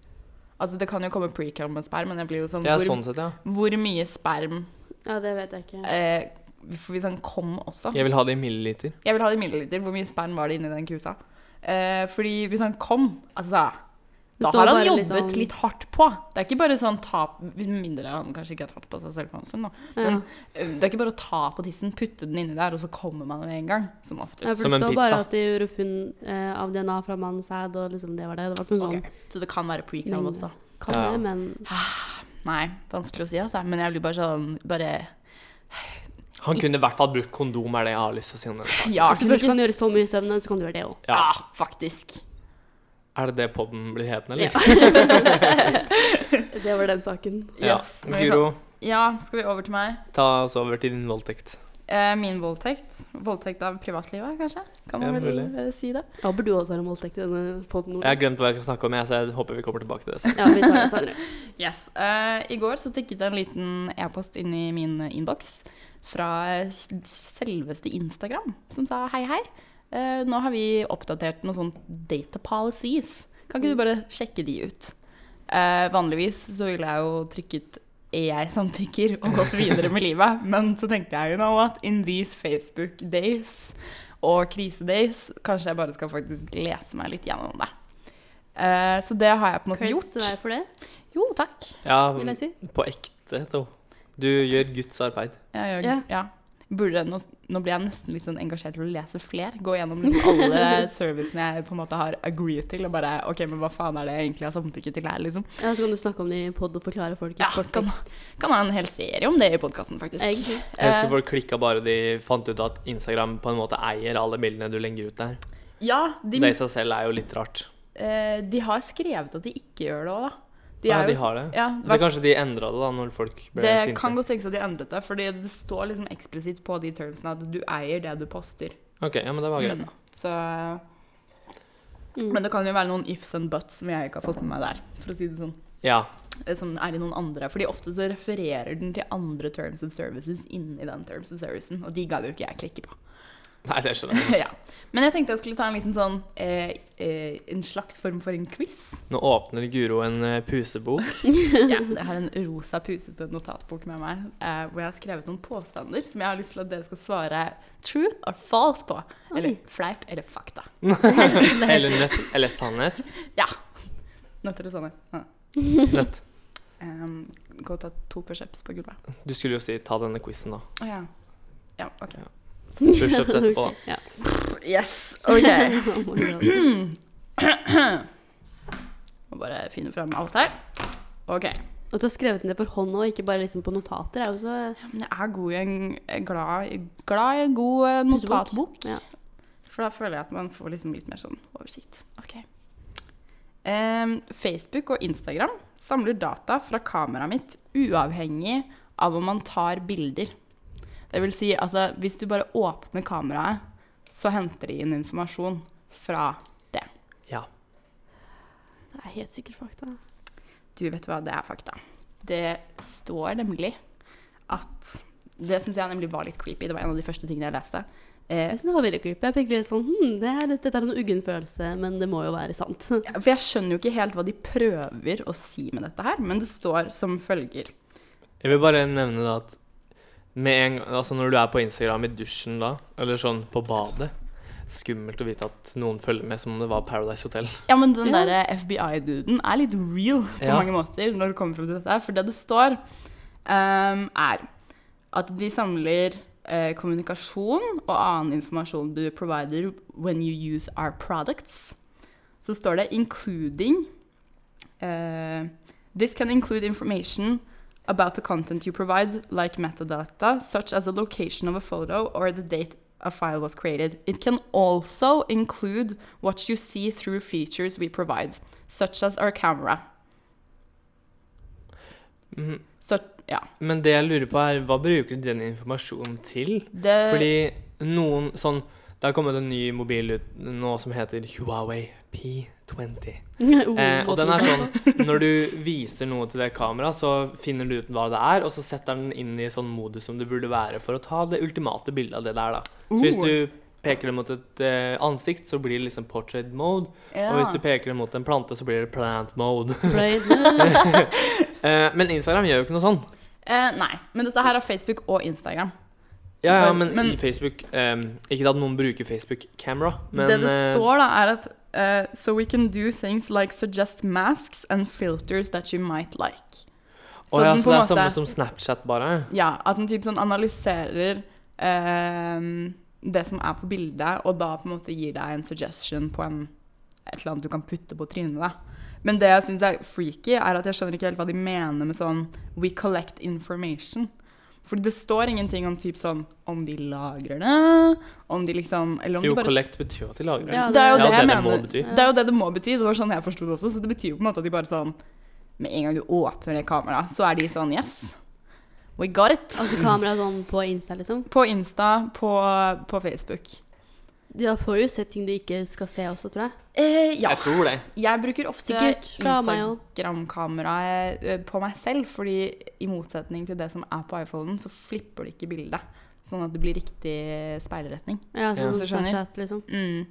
[SPEAKER 2] Altså, det kan jo komme precum og sperm, men jeg blir jo sånn
[SPEAKER 1] ja,
[SPEAKER 2] hvor,
[SPEAKER 1] sånn sett, ja.
[SPEAKER 2] hvor mye sperm
[SPEAKER 3] Ja, det vet jeg ikke.
[SPEAKER 2] eh, For hvis han kom også
[SPEAKER 1] Jeg vil ha det i milliliter.
[SPEAKER 2] Jeg vil ha det i milliliter. Hvor mye sperm var det inni den kusa? Eh, fordi hvis han kom Altså
[SPEAKER 3] Det
[SPEAKER 2] Da
[SPEAKER 3] står
[SPEAKER 2] har han
[SPEAKER 3] bare
[SPEAKER 2] jobbet
[SPEAKER 3] liksom-
[SPEAKER 2] litt hardt på. Det er ikke bare sånn ta Med mindre han kanskje ikke har tatt på seg selvkonsen, da. Men
[SPEAKER 3] Ja.
[SPEAKER 2] eh, det er ikke bare å ta på tissen, putte den inni der, og så kommer man med en gang. Som oftest.
[SPEAKER 3] Ja, for
[SPEAKER 1] som
[SPEAKER 3] det
[SPEAKER 1] en
[SPEAKER 3] står
[SPEAKER 1] pizza.
[SPEAKER 3] bare at de gjorde funn eh, av DNA fra mannens sæd, og liksom det var det. Det var ikke noe
[SPEAKER 2] Ok, Så det kan være precum
[SPEAKER 3] Men-
[SPEAKER 2] også.
[SPEAKER 3] sånn Kan
[SPEAKER 1] Ja.
[SPEAKER 3] det, men
[SPEAKER 2] Nei, vanskelig å si, altså. Men jeg blir bare sånn bare,
[SPEAKER 1] Han kunne i hvert fall brukt kondom, er det jeg har lyst til å si om den saken.
[SPEAKER 2] sånn, Ja,
[SPEAKER 3] Hvis du
[SPEAKER 2] kunne
[SPEAKER 3] først
[SPEAKER 2] ikke
[SPEAKER 3] kan gjøre så mye søvn, så kan du gjøre det òg.
[SPEAKER 2] Ja,
[SPEAKER 1] Ja.
[SPEAKER 2] faktisk.
[SPEAKER 1] Er det det podden blir hetende, eller?
[SPEAKER 3] Det var den saken.
[SPEAKER 1] Ja.
[SPEAKER 2] Yes, men vi kan-
[SPEAKER 1] Guro,
[SPEAKER 2] Ja, skal vi over til meg?
[SPEAKER 1] ta oss over til din voldtekt.
[SPEAKER 2] Eh, min voldtekt. Voldtekt av privatlivet, kanskje? Kan
[SPEAKER 1] Ja,
[SPEAKER 2] man vel
[SPEAKER 1] mulig.
[SPEAKER 2] eh, si det?
[SPEAKER 3] Da burde du også ha en voldtekt i denne poden.
[SPEAKER 1] Jeg har glemt hva jeg skal snakke om, jeg, så jeg håper vi kommer tilbake til det. senere.
[SPEAKER 3] Ja, vi tar det senere.
[SPEAKER 2] Yes. eh, I går så tikket det en liten e-post inn i min innboks fra selveste Instagram, som sa hei, hei. Eh, nå har vi oppdatert noen sånn data policies. Kan ikke du bare sjekke de ut? Eh, vanligvis så ville jeg jo trykket jeg samtykker og gått videre med livet, men så tenkte jeg jo nå at in these Facebook days og krisedays, kanskje jeg bare skal faktisk lese meg litt gjennom det. Eh, så det har jeg på en måte
[SPEAKER 3] Creds
[SPEAKER 2] gjort.
[SPEAKER 3] til deg for det,
[SPEAKER 2] Jo, takk.
[SPEAKER 3] vil jeg
[SPEAKER 1] Ja,
[SPEAKER 3] si.
[SPEAKER 1] på ekte, da. Du gjør Guds arbeid.
[SPEAKER 2] Jeg gjør,
[SPEAKER 3] Ja.
[SPEAKER 2] ja. Burde, nå, nå blir jeg nesten litt sånn engasjert til å lese fler. Gå gjennom liksom alle servicene jeg på en måte har agreed til, og bare OK, men hva faen er det jeg egentlig har samtykke til her, liksom?
[SPEAKER 3] Ja, Så kan du snakke om det i pod og forklare folk i
[SPEAKER 2] Ja,
[SPEAKER 3] kort
[SPEAKER 2] kan-
[SPEAKER 3] tekst.
[SPEAKER 2] Kan ha en hel serie om det i podkasten, faktisk.
[SPEAKER 3] Egentlig.
[SPEAKER 1] Jeg husker folk klikka bare de fant ut at Instagram på en måte eier alle bildene du legger ut der.
[SPEAKER 2] Ja, de,
[SPEAKER 1] Det i seg selv er jo litt rart.
[SPEAKER 2] eh, de har skrevet at de ikke gjør det òg, da.
[SPEAKER 1] Ja,
[SPEAKER 2] er
[SPEAKER 1] de
[SPEAKER 2] jo-
[SPEAKER 1] har det.
[SPEAKER 2] Ja,
[SPEAKER 1] Men kanskje de endra det da, når folk ble
[SPEAKER 2] det
[SPEAKER 1] sinte.
[SPEAKER 2] kan godt tenkes at de endret det, fordi det står liksom eksplisitt på de termsene at du eier det du poster.
[SPEAKER 1] Ok, ja, men det var greit.
[SPEAKER 2] Mm. Så
[SPEAKER 3] Mm.
[SPEAKER 2] Men det kan jo være noen ifs and buts som jeg ikke har fått med meg der, for å si det sånn.
[SPEAKER 1] Ja.
[SPEAKER 2] Eh, Som er i noen andre. Fordi ofte så refererer den til andre terms of services inni den terms of servicen, og de gadd jo ikke jeg klikke på.
[SPEAKER 1] Nei, det skjønner jeg.
[SPEAKER 2] ja. Men jeg tenkte jeg skulle ta en liten sånn eh, eh, En slags form for en quiz.
[SPEAKER 1] Nå åpner Guro en eh, pusebok.
[SPEAKER 2] Ja, jeg har en rosa, pusete notatbok med meg eh, hvor jeg har skrevet noen påstander som jeg har lyst til at dere skal svare true or false på. Eller
[SPEAKER 3] Oi.
[SPEAKER 2] fleip eller fakta.
[SPEAKER 1] Eller nøtt. Eller sannhet.
[SPEAKER 2] Ja. Nødt til det sånne. Ja.
[SPEAKER 1] Nøtt.
[SPEAKER 2] Um, gå og ta to pushups på gulvet.
[SPEAKER 1] Du skulle jo si 'ta denne quizen', da.
[SPEAKER 2] Å ja. Ja, ok.
[SPEAKER 1] Pushups etterpå.
[SPEAKER 3] Ok, Ja.
[SPEAKER 2] Yes, ok.
[SPEAKER 3] Oh my God.
[SPEAKER 2] Må bare finne frem alt her. Ok.
[SPEAKER 3] At du har skrevet ned for hånd og ikke bare liksom på notater, er jo så
[SPEAKER 2] Men jeg er god i en, er glad, i- glad i en god eh, notatbok.
[SPEAKER 3] Ja.
[SPEAKER 2] For da føler jeg at man får liksom litt mer sånn oversikt. Ok. Em, Facebook og Instagram samler data fra kameraet mitt uavhengig av om man tar bilder. Det vil si, altså, hvis du bare åpner kameraet, så henter de inn informasjon fra det.
[SPEAKER 1] Ja.
[SPEAKER 3] Det er helt sikkert fakta.
[SPEAKER 2] Du vet hva, det er fakta. Det står nemlig at Det syns jeg nemlig var litt creepy. Det var en av de første tingene jeg leste. Eh,
[SPEAKER 3] Jeg synes det var veldig creepy. Jeg fikk litt sånn hm, det her, Dette er en uggen følelse, men det må jo være sant.
[SPEAKER 2] for jeg skjønner jo ikke helt hva de prøver å si med dette her, men det står som følger.
[SPEAKER 1] Jeg vil bare nevne da at med en, gang- altså når du er på Instagram i dusjen da, eller sånn på badet Skummelt å vite at noen følger med som om det var Paradise Hotel.
[SPEAKER 2] Ja, men den
[SPEAKER 3] Ja.
[SPEAKER 2] derre FBI-duden er litt real på
[SPEAKER 1] Ja.
[SPEAKER 2] mange måter når det kommer frem til dette. her, For det det står, ehm, er at de samler eh, kommunikasjon og annen informasjon du provider when you use our products. Så står det 'including' eh, This can include information about the content you provide, like metadata, such as the location of a photo or the date a file was created. It can also include what you see through features we provide, such as our camera.
[SPEAKER 1] Mm,
[SPEAKER 2] Så, ja.
[SPEAKER 1] Men det jeg lurer på er, hva bruker de den informasjonen til?
[SPEAKER 2] Det,
[SPEAKER 1] Fordi noen sånn Det har kommet en ny mobil ut nå som heter Huawei P20.
[SPEAKER 2] Mhm.
[SPEAKER 1] Eh, og den er sånn Når du viser noe til det kameraet, så finner du ut hva det er, og så setter den inn i sånn modus som det burde være for å ta det ultimate bildet av det der, da. Så hvis
[SPEAKER 2] Oh.
[SPEAKER 1] du peker det mot et eh, ansikt, så blir det liksom portrait mode. Og hvis du peker det mot en plante, så blir det plant mode. eh, men Instagram gjør jo ikke noe sånn.
[SPEAKER 2] eh, nei, men dette her er Facebook og Instagram.
[SPEAKER 1] Ja, ja,
[SPEAKER 2] Men-
[SPEAKER 1] men,
[SPEAKER 2] men-
[SPEAKER 1] i Facebook eh, Ikke at noen bruker Facebook camera, men
[SPEAKER 2] det det
[SPEAKER 1] eh,
[SPEAKER 2] står da er at eh, So we can do things like suggest masks and filters that you might like.
[SPEAKER 1] å ja,
[SPEAKER 2] den
[SPEAKER 1] så
[SPEAKER 2] på
[SPEAKER 1] det
[SPEAKER 2] en
[SPEAKER 1] er samme
[SPEAKER 2] måte-
[SPEAKER 1] som Snapchat, bare?
[SPEAKER 2] Ja, at den typ sånn analyserer ehm, det som er på bildet, og da på en måte gir deg en suggestion på en, et eller annet du kan putte på trynet. Da. Men det jeg syns er freaky, er at jeg skjønner ikke helt hva de mener med sånn We collect information. Fordi det står ingenting om typ sånn om de lagrer det, om de liksom Eller om
[SPEAKER 1] Jo,
[SPEAKER 2] de bare
[SPEAKER 1] collect betyr jo at de lagrer.
[SPEAKER 3] Ja,
[SPEAKER 2] det er
[SPEAKER 1] Ja,
[SPEAKER 2] jo det jeg
[SPEAKER 1] det det må
[SPEAKER 2] mener.
[SPEAKER 1] bety.
[SPEAKER 2] Det er jo det det må bety. Det var sånn jeg forsto det også. Så det betyr jo på en måte at de bare sånn Med en gang du åpner det kameraet, så er de sånn Yes, we got it.
[SPEAKER 3] Altså kamera sånn på Insta, liksom.
[SPEAKER 2] På Insta, på, på Facebook.
[SPEAKER 3] De da får jo sett ting de ikke skal se også, tror jeg.
[SPEAKER 2] Eh, ja.
[SPEAKER 1] Jeg tror det.
[SPEAKER 2] Jeg bruker ofte
[SPEAKER 3] Sikkert fra meg også.
[SPEAKER 2] Instagram-kameraet eh, på meg selv, fordi i motsetning til det som er på iPhonen, så flipper du ikke bildet. Sånn at det blir riktig speilretning.
[SPEAKER 3] Ja,
[SPEAKER 1] Ja.
[SPEAKER 3] sånn
[SPEAKER 2] Så skjønner.
[SPEAKER 3] Snapchat, liksom.
[SPEAKER 2] Mm.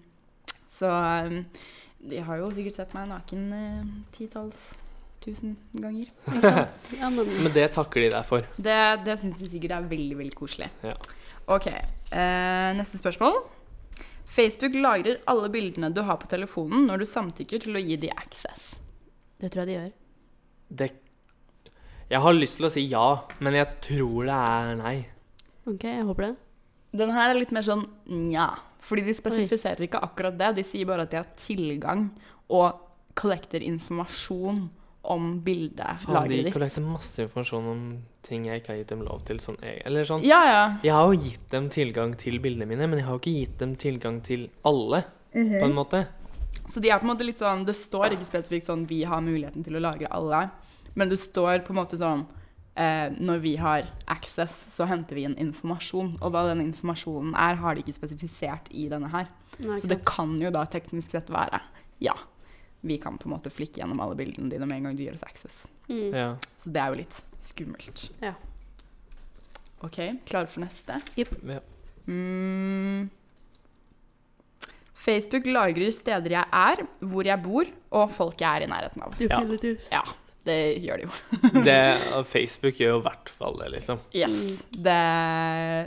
[SPEAKER 2] Så um, de har jo sikkert sett meg naken eh, titalls tusen ganger.
[SPEAKER 3] Ikke sant? Ja, men
[SPEAKER 1] Men det takker de deg for.
[SPEAKER 2] Det, det syns de sikkert er veldig veldig koselig.
[SPEAKER 1] Ja.
[SPEAKER 2] Ok, eh, Neste spørsmål. Facebook lagrer alle bildene du har på telefonen når du samtykker til å gi de access.
[SPEAKER 3] det tror jeg de gjør.
[SPEAKER 1] Det Jeg har lyst til å si ja, men jeg tror det er nei.
[SPEAKER 3] Ok, jeg håper det.
[SPEAKER 2] Den her er litt mer sånn nja. Fordi de spesifiserer ikke akkurat det. De sier bare at de har tilgang og collecter informasjon om bildet.
[SPEAKER 1] Faen, de
[SPEAKER 2] lagret ditt.
[SPEAKER 1] kollekter masse informasjon om ting jeg ikke har gitt dem lov til. Sånn, e- eller sånn.
[SPEAKER 2] Ja, ja.
[SPEAKER 1] Jeg har jo gitt dem tilgang til bildene mine, men jeg har jo ikke gitt dem tilgang til alle, på en måte.
[SPEAKER 2] Så de er på en måte litt sånn Det står ikke spesifikt sånn vi har muligheten til å lagre alle, men det står på en måte sånn eh, Når vi har access, så henter vi inn informasjon. Og hva den informasjonen er, har de ikke spesifisert i denne her.
[SPEAKER 3] Nei,
[SPEAKER 2] Så
[SPEAKER 3] ikke
[SPEAKER 2] det
[SPEAKER 3] sant.
[SPEAKER 2] kan jo da teknisk sett være Ja, vi kan på en måte flikke gjennom alle bildene dine med en gang du gir oss access.
[SPEAKER 3] Mm.
[SPEAKER 1] Ja.
[SPEAKER 2] Så det er jo litt skummelt.
[SPEAKER 3] Ja.
[SPEAKER 2] OK, klar for neste?
[SPEAKER 1] Ja.
[SPEAKER 2] Mm. Facebook lagrer steder jeg er, hvor jeg bor, og folk jeg er i nærheten av.
[SPEAKER 3] Definitivt.
[SPEAKER 2] Ja, det gjør de jo.
[SPEAKER 1] Det, Facebook gjør jo i hvert fall det, liksom.
[SPEAKER 2] Yes. Det,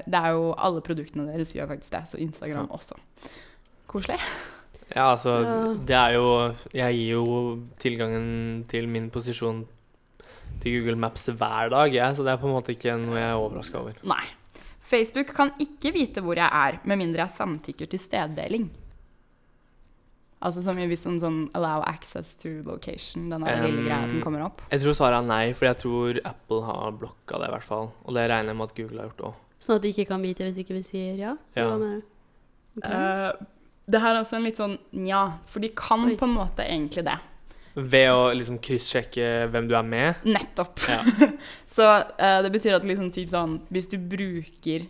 [SPEAKER 2] det er jo alle produktene deres gjør faktisk det, så Instagram også. Koselig.
[SPEAKER 1] Ja, altså,
[SPEAKER 3] Ja.
[SPEAKER 1] det er jo Jeg gir jo tilgangen til min posisjon til Google Maps hver dag, jeg, så det er på en måte ikke noe jeg er overraska over.
[SPEAKER 2] Nei. Facebook kan ikke vite hvor jeg er, med mindre jeg samtykker til steddeling. Altså som i hvis sånn, sånn allow access to location, den der lille
[SPEAKER 1] Um,
[SPEAKER 2] greia som kommer opp.
[SPEAKER 1] Jeg tror svaret er nei, for jeg tror Apple har blokka det, i hvert fall. Og det regner jeg med at Google har gjort òg.
[SPEAKER 3] Sånn at de ikke kan vite hvis ikke vi sier ja?
[SPEAKER 1] Ja.
[SPEAKER 3] Hva mener du? Ok.
[SPEAKER 2] Eh, det her er også en litt sånn nja, for de kan
[SPEAKER 3] Oi.
[SPEAKER 2] på en måte egentlig det.
[SPEAKER 1] Ved å liksom kryssjekke hvem du er med.
[SPEAKER 2] Nettopp.
[SPEAKER 1] Ja.
[SPEAKER 2] Så eh, det betyr at liksom typ sånn Hvis du bruker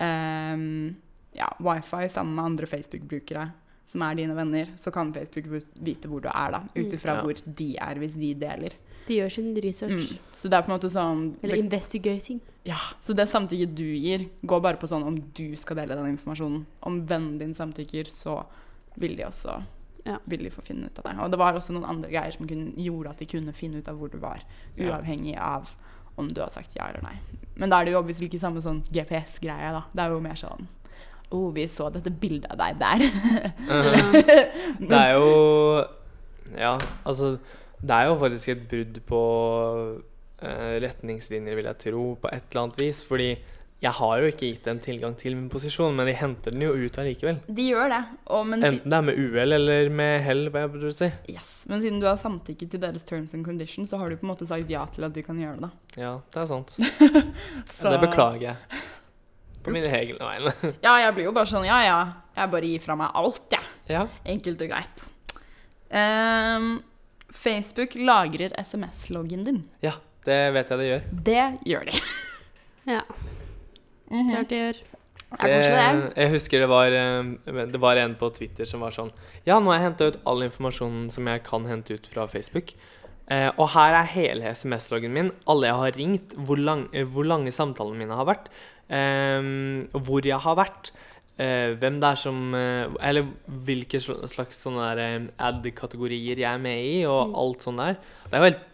[SPEAKER 2] ehm, ja, wifi sammen med andre Facebook-brukere som er dine venner, så kan Facebook vu- vite hvor du er, da. Ut ifra
[SPEAKER 1] Ja.
[SPEAKER 2] hvor de er, hvis de deler.
[SPEAKER 3] De gjør sin research.
[SPEAKER 2] Mm. Så det er på en måte sånn
[SPEAKER 3] Eller
[SPEAKER 2] det,
[SPEAKER 3] investigating.
[SPEAKER 2] ja, Så det samtykket du gir, går bare på sånn om du skal dele den informasjonen. Om vennen din samtykker, så vil de også
[SPEAKER 3] Ja.
[SPEAKER 2] vil de få finne ut av det. Og det var også noen andre greier som kunne, gjorde at de kunne finne ut av hvor du var,
[SPEAKER 1] Ja.
[SPEAKER 2] uavhengig av om du har sagt ja eller nei. Men da er det jo obviously ikke samme sånn GPS-greie, da. Det er jo mer sånn Å, oh, vi så dette bildet av deg der.
[SPEAKER 1] Eh,
[SPEAKER 3] Ja.
[SPEAKER 1] Det er jo Ja, altså Det er jo faktisk et brudd på eh, retningslinjer, vil jeg tro, på et eller annet vis. Fordi jeg har jo ikke gitt dem tilgang til min posisjon, men de henter den jo ut allikevel.
[SPEAKER 2] De gjør det. Og, men, si-
[SPEAKER 1] Enten det er med uhell eller med hell, hva jeg burde si.
[SPEAKER 2] yes. men siden du har samtykket til deres terms and conditions, så har du på en måte sagt ja til at de kan gjøre det, da.
[SPEAKER 1] Ja, det er sant.
[SPEAKER 2] Så-
[SPEAKER 1] Det beklager jeg. På mine
[SPEAKER 2] Ups.
[SPEAKER 1] egne vegne.
[SPEAKER 2] Ja, jeg blir jo bare sånn, ja, ja. Jeg bare gir fra meg alt, jeg.
[SPEAKER 1] Ja.
[SPEAKER 2] Enkelt og greit. Ehm, Facebook lagrer SMS-loggen din.
[SPEAKER 1] ja, det vet jeg det gjør.
[SPEAKER 2] Det gjør de.
[SPEAKER 3] Ja, klart de gjør.
[SPEAKER 2] Det er koselig, det.
[SPEAKER 1] Jeg husker det var, eh, det var en på Twitter som var sånn Ja, nå har jeg henta ut all informasjonen som jeg kan hente ut fra Facebook. Eh, og her er hele SMS-loggen min, alle jeg har ringt, hvor, lang, eh, hvor lange samtalene mine har vært, eh, hvor jeg har vært, eh, hvem det er som eh, Eller hvilke sl- slags sånne der, eh, ad-kategorier jeg er med i, og
[SPEAKER 3] Mm.
[SPEAKER 1] alt sånt der. Det er jo helt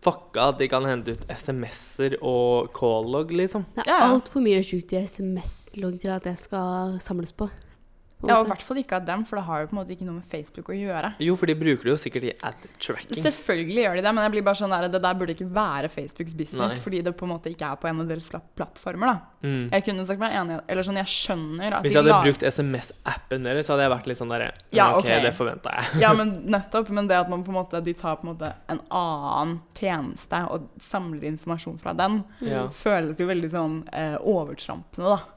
[SPEAKER 1] fucka at de kan hente ut SMS-er og call-log, liksom.
[SPEAKER 3] Det
[SPEAKER 2] Ja, ja.
[SPEAKER 3] er altfor mye sjukt i SMS-logg til at det skal samles på. på en
[SPEAKER 2] Ja, og i
[SPEAKER 3] måte.
[SPEAKER 2] hvert fall ikke av dem, for det har jo på en måte ikke noe med Facebook å gjøre.
[SPEAKER 1] Jo, for de bruker det jo sikkert i ad-tracking.
[SPEAKER 2] Selvfølgelig gjør de det, men jeg blir bare sånn der, det der burde ikke være Facebooks business,
[SPEAKER 1] Nei.
[SPEAKER 2] fordi det på en måte ikke er på en av deres pla- plattformer, da.
[SPEAKER 1] Mm.
[SPEAKER 2] Jeg kunne sagt meg enig, eller sånn, jeg skjønner
[SPEAKER 1] Hvis
[SPEAKER 2] at de
[SPEAKER 1] jeg hadde
[SPEAKER 2] lag-
[SPEAKER 1] brukt SMS-appen deres, så hadde jeg vært litt sånn derre
[SPEAKER 2] Ja,
[SPEAKER 1] OK,
[SPEAKER 2] ok.
[SPEAKER 1] det forventa jeg.
[SPEAKER 2] Ja, men nettopp. Men det at man på en måte, de tar på en måte en annen tjeneste og samler informasjon fra den,
[SPEAKER 1] Ja.
[SPEAKER 2] føles jo veldig sånn eh, overtrampende, da.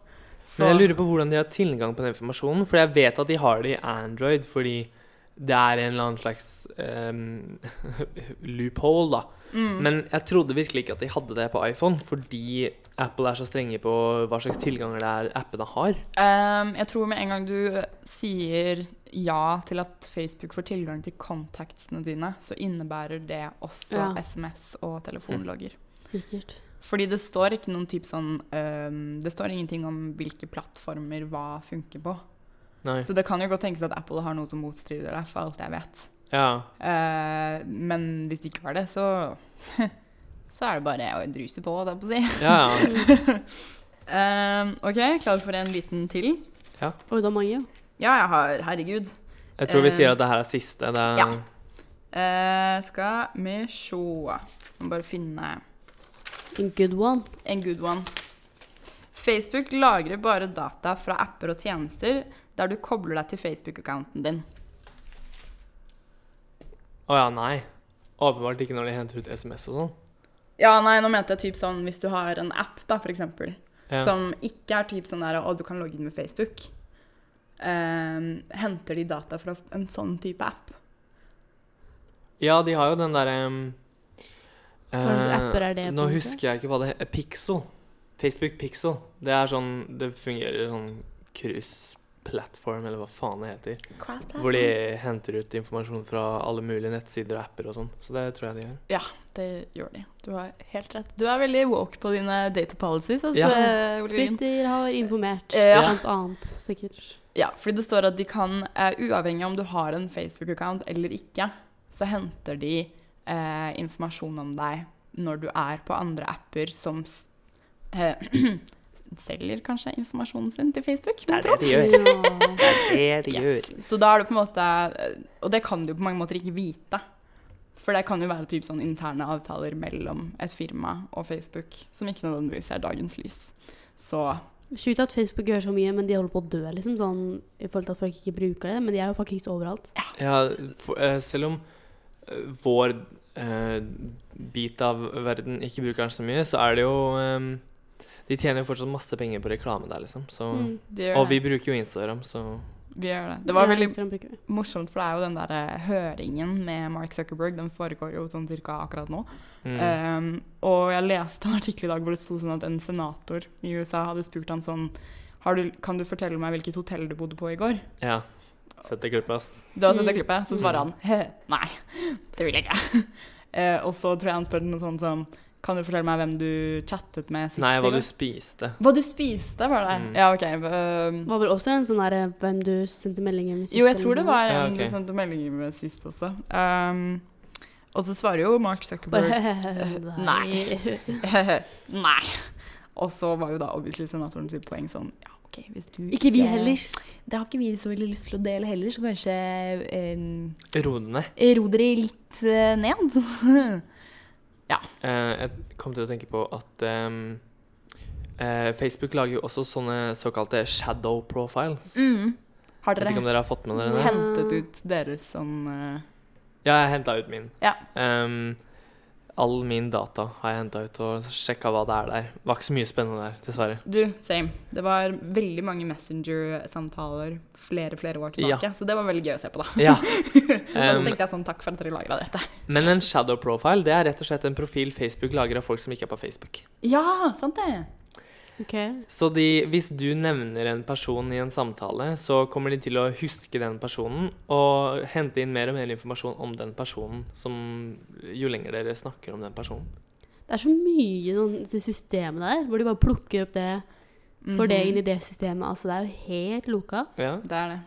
[SPEAKER 2] Så
[SPEAKER 1] Men jeg lurer på hvordan de har tilgang på den informasjonen, for jeg vet at de har det i Android fordi det er en eller annen slags ehm, loophole, da.
[SPEAKER 2] mm,
[SPEAKER 1] Men jeg trodde virkelig ikke at de hadde det på iPhone, fordi Apple er så strenge på hva slags tilganger det er appene har.
[SPEAKER 2] ehm, Jeg tror med en gang du sier ja til at Facebook får tilgang til kontaktene dine, så innebærer det også
[SPEAKER 3] Ja.
[SPEAKER 2] SMS og
[SPEAKER 1] Mm.
[SPEAKER 2] telefonlogger.
[SPEAKER 3] Mm, Sikkert.
[SPEAKER 2] Fordi det står ikke noen type sånn ehm, Det står ingenting om hvilke plattformer hva funker på.
[SPEAKER 1] Nei.
[SPEAKER 2] Så det kan jo godt tenkes at Apple har noe som motstrider det, for alt jeg vet.
[SPEAKER 1] Ja.
[SPEAKER 2] Eh, men hvis de ikke har det, så Så er det bare å druse på, holdt jeg på å si.
[SPEAKER 1] Ja, ja.
[SPEAKER 2] Eh, OK, klar for en liten til?
[SPEAKER 3] Oi, det er mange.
[SPEAKER 2] Ja, jeg har Herregud.
[SPEAKER 1] Jeg tror vi
[SPEAKER 2] Eh,
[SPEAKER 1] sier at det her er siste. Det er,
[SPEAKER 2] ja. Eh, skal vi sjå Må bare finne
[SPEAKER 3] En good one.
[SPEAKER 2] en good one. Facebook lagrer bare data fra apper og tjenester der du kobler deg til Facebook-accounten din.
[SPEAKER 1] Å ja, nei. Åpenbart ikke når de henter ut SMS og sånn.
[SPEAKER 2] Ja, nei, nå mente jeg typ sånn hvis du har en app, da, for eksempel.
[SPEAKER 1] Ja.
[SPEAKER 2] som ikke er typ sånn der å, du kan logge inn med Facebook. Ehm, henter de data fra en sånn type app?
[SPEAKER 1] Ja, de har jo den derre ehm,
[SPEAKER 3] Hva slags
[SPEAKER 1] eh,
[SPEAKER 3] apper er det, på
[SPEAKER 1] Nå
[SPEAKER 3] en måte?
[SPEAKER 1] husker jeg ikke hva det heter. Pixel. Facebook Pixel. Det er sånn Det fungerer sånn kryssplattform, eller hva faen det heter.
[SPEAKER 3] Ah,
[SPEAKER 1] Hvor de henter ut informasjon fra alle mulige nettsider og apper og sånn. Så det tror jeg de gjør.
[SPEAKER 2] Det gjør de. Du har helt rett. Du er veldig woke på dine data policies. Altså,
[SPEAKER 1] Ja.
[SPEAKER 2] ja.
[SPEAKER 3] Twitter har informert.
[SPEAKER 2] Ja.
[SPEAKER 3] Blant annet, sikkert.
[SPEAKER 2] ja, fordi det står at de kan, eh, uavhengig om du har en Facebook-account eller ikke, så henter de eh, informasjon om deg når du er på andre apper som s- eh, selger kanskje informasjonen sin til Facebook.
[SPEAKER 1] Det
[SPEAKER 2] vil
[SPEAKER 1] er
[SPEAKER 2] tro.
[SPEAKER 1] det de gjør.
[SPEAKER 3] Ja.
[SPEAKER 1] Det er det de
[SPEAKER 2] Yes.
[SPEAKER 1] gjør.
[SPEAKER 2] Så da er det på en måte Og det kan du på mange måter ikke vite. For det kan jo være typ sånn interne avtaler mellom et firma og Facebook som ikke nødvendigvis er dagens lys. Så
[SPEAKER 3] Sjukt at Facebook gjør så mye, men de holder på å dø, liksom. Sånn, I forhold til at folk ikke bruker det. Men de er jo fuckings overalt.
[SPEAKER 1] Ja, for, eh, selv om eh, vår eh, bit av verden ikke bruker den så mye, så er det jo eh, De tjener jo fortsatt masse penger på reklame der, liksom. Så,
[SPEAKER 3] Mm.
[SPEAKER 2] de gjør
[SPEAKER 1] og vi
[SPEAKER 2] det.
[SPEAKER 1] bruker jo Instagram, så
[SPEAKER 2] Vi gjør det. Det var
[SPEAKER 3] Ja,
[SPEAKER 2] veldig
[SPEAKER 3] Instagram bruker vi.
[SPEAKER 2] morsomt, for det er jo den der eh, høringen med Mark Zuckerberg. Den foregår jo sånn cirka akkurat nå.
[SPEAKER 1] mm.
[SPEAKER 2] Um, og jeg leste en artikkel i dag hvor det sto sånn at en senator i USA hadde spurt han sånn har du, Kan du fortelle meg hvilket hotell du bodde på i går?
[SPEAKER 1] Ja. Sett deg klipp, ass.
[SPEAKER 2] Det var sånn det
[SPEAKER 3] Mm.
[SPEAKER 2] klippet. Så svarer han «Hø, nei, det vil jeg ikke. Eh, og så tror jeg han spør noe sånt som Kan du fortelle meg hvem du chattet med sist?
[SPEAKER 1] Nei,
[SPEAKER 2] i
[SPEAKER 1] hva
[SPEAKER 2] går?»
[SPEAKER 1] du spiste.
[SPEAKER 2] hva du spiste, var det?
[SPEAKER 1] Mm.
[SPEAKER 2] Ja, OK. Um,
[SPEAKER 3] Det var vel også en sånn derre hvem du sendte meldinger med sist.
[SPEAKER 2] Jo, jeg
[SPEAKER 3] eller
[SPEAKER 2] tror det
[SPEAKER 3] noe.
[SPEAKER 2] var en
[SPEAKER 1] Ja,
[SPEAKER 2] ja,
[SPEAKER 1] ok.
[SPEAKER 2] du sendte meldinger med sist også. Um, og så svarer jo Mark Zuckerberg
[SPEAKER 3] Bare
[SPEAKER 2] Nei. Nei. Og så var jo da obviously senatoren sitt poeng sånn ja, OK, hvis du
[SPEAKER 3] Ikke vi heller.
[SPEAKER 2] Det har ikke vi så veldig lyst til å dele heller, så kanskje eh,
[SPEAKER 1] Ro deg ned.
[SPEAKER 2] ro dere litt eh, ned.
[SPEAKER 1] Eh, jeg kom til å tenke på at ehm, eh, Facebook lager jo også sånne såkalte shadow profiles.
[SPEAKER 2] Mm. Har
[SPEAKER 1] Jeg vet
[SPEAKER 2] dere
[SPEAKER 1] ikke om dere har fått med dere det?
[SPEAKER 2] hentet ut deres sånn eh,
[SPEAKER 1] Ja, jeg henta ut min.
[SPEAKER 2] Ja.
[SPEAKER 1] Ehm, all min data har jeg henta ut og sjekka hva det er der. Det var ikke så mye spennende der, dessverre.
[SPEAKER 2] Du, same. Det var veldig mange Messenger-samtaler flere flere år tilbake,
[SPEAKER 1] Ja.
[SPEAKER 2] så det var veldig gøy å se på, da.
[SPEAKER 1] Ja.
[SPEAKER 2] Da
[SPEAKER 1] Ehm,
[SPEAKER 2] tenkte jeg sånn, takk for at dere lagra dette.
[SPEAKER 1] men en shadow profile det er rett og slett en profil Facebook lager av folk som ikke er på Facebook.
[SPEAKER 2] Ja, sant det.
[SPEAKER 3] Ok.
[SPEAKER 1] Så de, hvis du nevner en person i en samtale, så kommer de til å huske den personen og hente inn mer og mer informasjon om den personen som, jo lenger dere snakker om den personen.
[SPEAKER 3] Det er så mye sånn det systemet der, hvor de bare plukker opp det for det inn i det systemet. Altså, det er jo helt loka.
[SPEAKER 1] Ja.
[SPEAKER 2] Mhm. Det er det.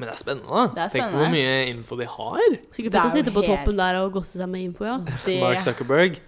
[SPEAKER 1] Men det er spennende, da.
[SPEAKER 2] Det er
[SPEAKER 1] Tenk på
[SPEAKER 2] spennende.
[SPEAKER 1] hvor mye info de har.
[SPEAKER 2] Det er
[SPEAKER 3] Sikkert fett å
[SPEAKER 2] jo
[SPEAKER 3] sitte på
[SPEAKER 2] helt-
[SPEAKER 3] toppen der og gosse seg med info, ja.
[SPEAKER 2] Det-
[SPEAKER 1] Mark Zuckerberg,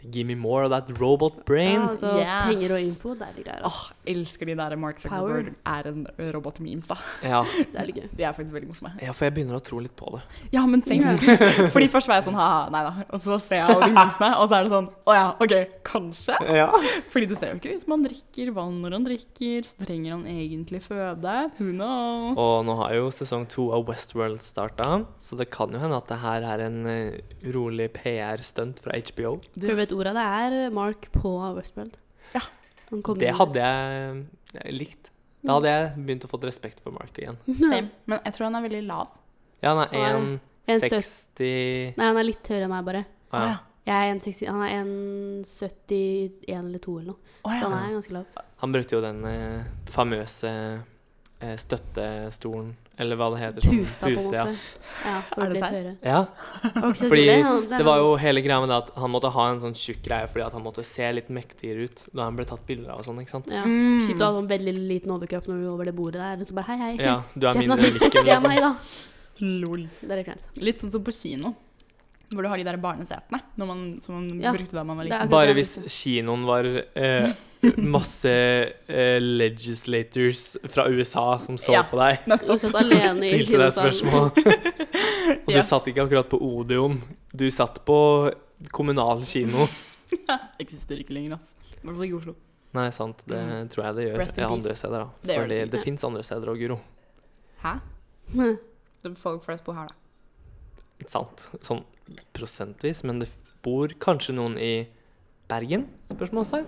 [SPEAKER 1] give me more of that robot brain.
[SPEAKER 3] ja altså,
[SPEAKER 2] Yes.
[SPEAKER 3] Penger og info, det er litt greier. altså.
[SPEAKER 2] Åh, elsker de der Mark Zuckerberg er en robot-memes, da.
[SPEAKER 1] Ja.
[SPEAKER 3] ass. Det er litt gøy.
[SPEAKER 2] De er faktisk veldig morsomme.
[SPEAKER 1] ja, for jeg begynner å tro litt på det.
[SPEAKER 2] Ja, men tenk Fordi først var jeg sånn ha-ha, nei da. Og så ser jeg alle de memesene, og så er det sånn å ja, OK, kanskje?
[SPEAKER 1] Ja.
[SPEAKER 2] Fordi det ser jo ikke ut som han drikker vann når han drikker, så trenger han egentlig føde. Who knows?
[SPEAKER 1] Og nå har jo sesong to av Westworld starta, så det kan jo hende at det her er en eh, rolig PR-stunt fra HBO.
[SPEAKER 3] Du vet ordet det er eh, Mark på Westworld.
[SPEAKER 2] Ja.
[SPEAKER 3] Han kommer
[SPEAKER 1] Det
[SPEAKER 3] inn.
[SPEAKER 1] hadde jeg eh, likt. Da hadde jeg begynt å få respekt for Mark igjen.
[SPEAKER 2] Same. Men jeg tror han er veldig lav.
[SPEAKER 1] Ja, han
[SPEAKER 3] Hva er han?
[SPEAKER 1] er
[SPEAKER 3] 1,70.
[SPEAKER 1] 1,60
[SPEAKER 3] Nei, han er litt høyere enn meg, bare.
[SPEAKER 1] ah, ja.
[SPEAKER 3] Jeg er 1,60 han er 1,71 eller 2 eller noe.
[SPEAKER 2] Å
[SPEAKER 3] Så han
[SPEAKER 2] ja.
[SPEAKER 3] er ganske lav.
[SPEAKER 1] Han brukte jo den eh, famøse eh, støttestolen, eller hva det heter. Sånn.
[SPEAKER 3] Puta, på en måte.
[SPEAKER 1] ja.
[SPEAKER 3] Ja, for
[SPEAKER 2] Er
[SPEAKER 3] å
[SPEAKER 2] det
[SPEAKER 3] bli litt
[SPEAKER 2] sant?
[SPEAKER 3] høyere.
[SPEAKER 1] ja.
[SPEAKER 3] Var ikke så
[SPEAKER 1] Fordi
[SPEAKER 3] rolig, han- det er
[SPEAKER 1] Det var
[SPEAKER 3] han.
[SPEAKER 1] jo hele greia med det at han måtte ha en sånn tjukk greie fordi at han måtte se litt mektigere ut da han ble tatt bilder av og sånn, ikke sant?
[SPEAKER 3] ja.
[SPEAKER 2] Mm.
[SPEAKER 3] Shit, du hadde en sånn veldig liten overkropp når du var over det bordet der. Og så bare hei, hei.
[SPEAKER 1] Ja, du er
[SPEAKER 3] Sjefen har
[SPEAKER 1] mindre enn
[SPEAKER 3] Facebook,
[SPEAKER 1] lykken,
[SPEAKER 3] det er meg,
[SPEAKER 1] liksom.
[SPEAKER 3] da.
[SPEAKER 2] sånn- Lol.
[SPEAKER 3] Det er litt kleint.
[SPEAKER 2] Litt sånn som på kino, hvor du har de der barnesetene når man, som man
[SPEAKER 3] Ja.
[SPEAKER 2] brukte da man var
[SPEAKER 3] Det er
[SPEAKER 2] liten.
[SPEAKER 3] akkurat
[SPEAKER 1] Bare
[SPEAKER 3] det
[SPEAKER 1] hvis
[SPEAKER 3] jeg
[SPEAKER 1] kinoen var eh, masse eh, legislators fra USA som så
[SPEAKER 2] Ja.
[SPEAKER 1] på deg
[SPEAKER 3] Du satt alene i
[SPEAKER 1] og stilte deg
[SPEAKER 3] kinosalen.
[SPEAKER 1] spørsmål. Og du
[SPEAKER 2] Yes.
[SPEAKER 1] satt ikke akkurat på Odeon, du satt på kommunal kino.
[SPEAKER 2] Eksisterer ikke lenger, altså. I hvert fall ikke i Oslo.
[SPEAKER 1] Nei, sant, det
[SPEAKER 2] Mm.
[SPEAKER 1] tror jeg det gjør
[SPEAKER 2] Rest in
[SPEAKER 1] ja,
[SPEAKER 2] peace.
[SPEAKER 1] andre steder, da.
[SPEAKER 2] Det gjør
[SPEAKER 1] Fordi
[SPEAKER 2] det
[SPEAKER 1] det,
[SPEAKER 2] sikkert.
[SPEAKER 1] fins andre steder òg, Guro.
[SPEAKER 2] Hæ?
[SPEAKER 3] Hm.
[SPEAKER 2] Det er folk flest bor her, da.
[SPEAKER 1] Ikke sant? Sånn prosentvis. Men det bor kanskje noen i Bergen? Spørsmålstegn.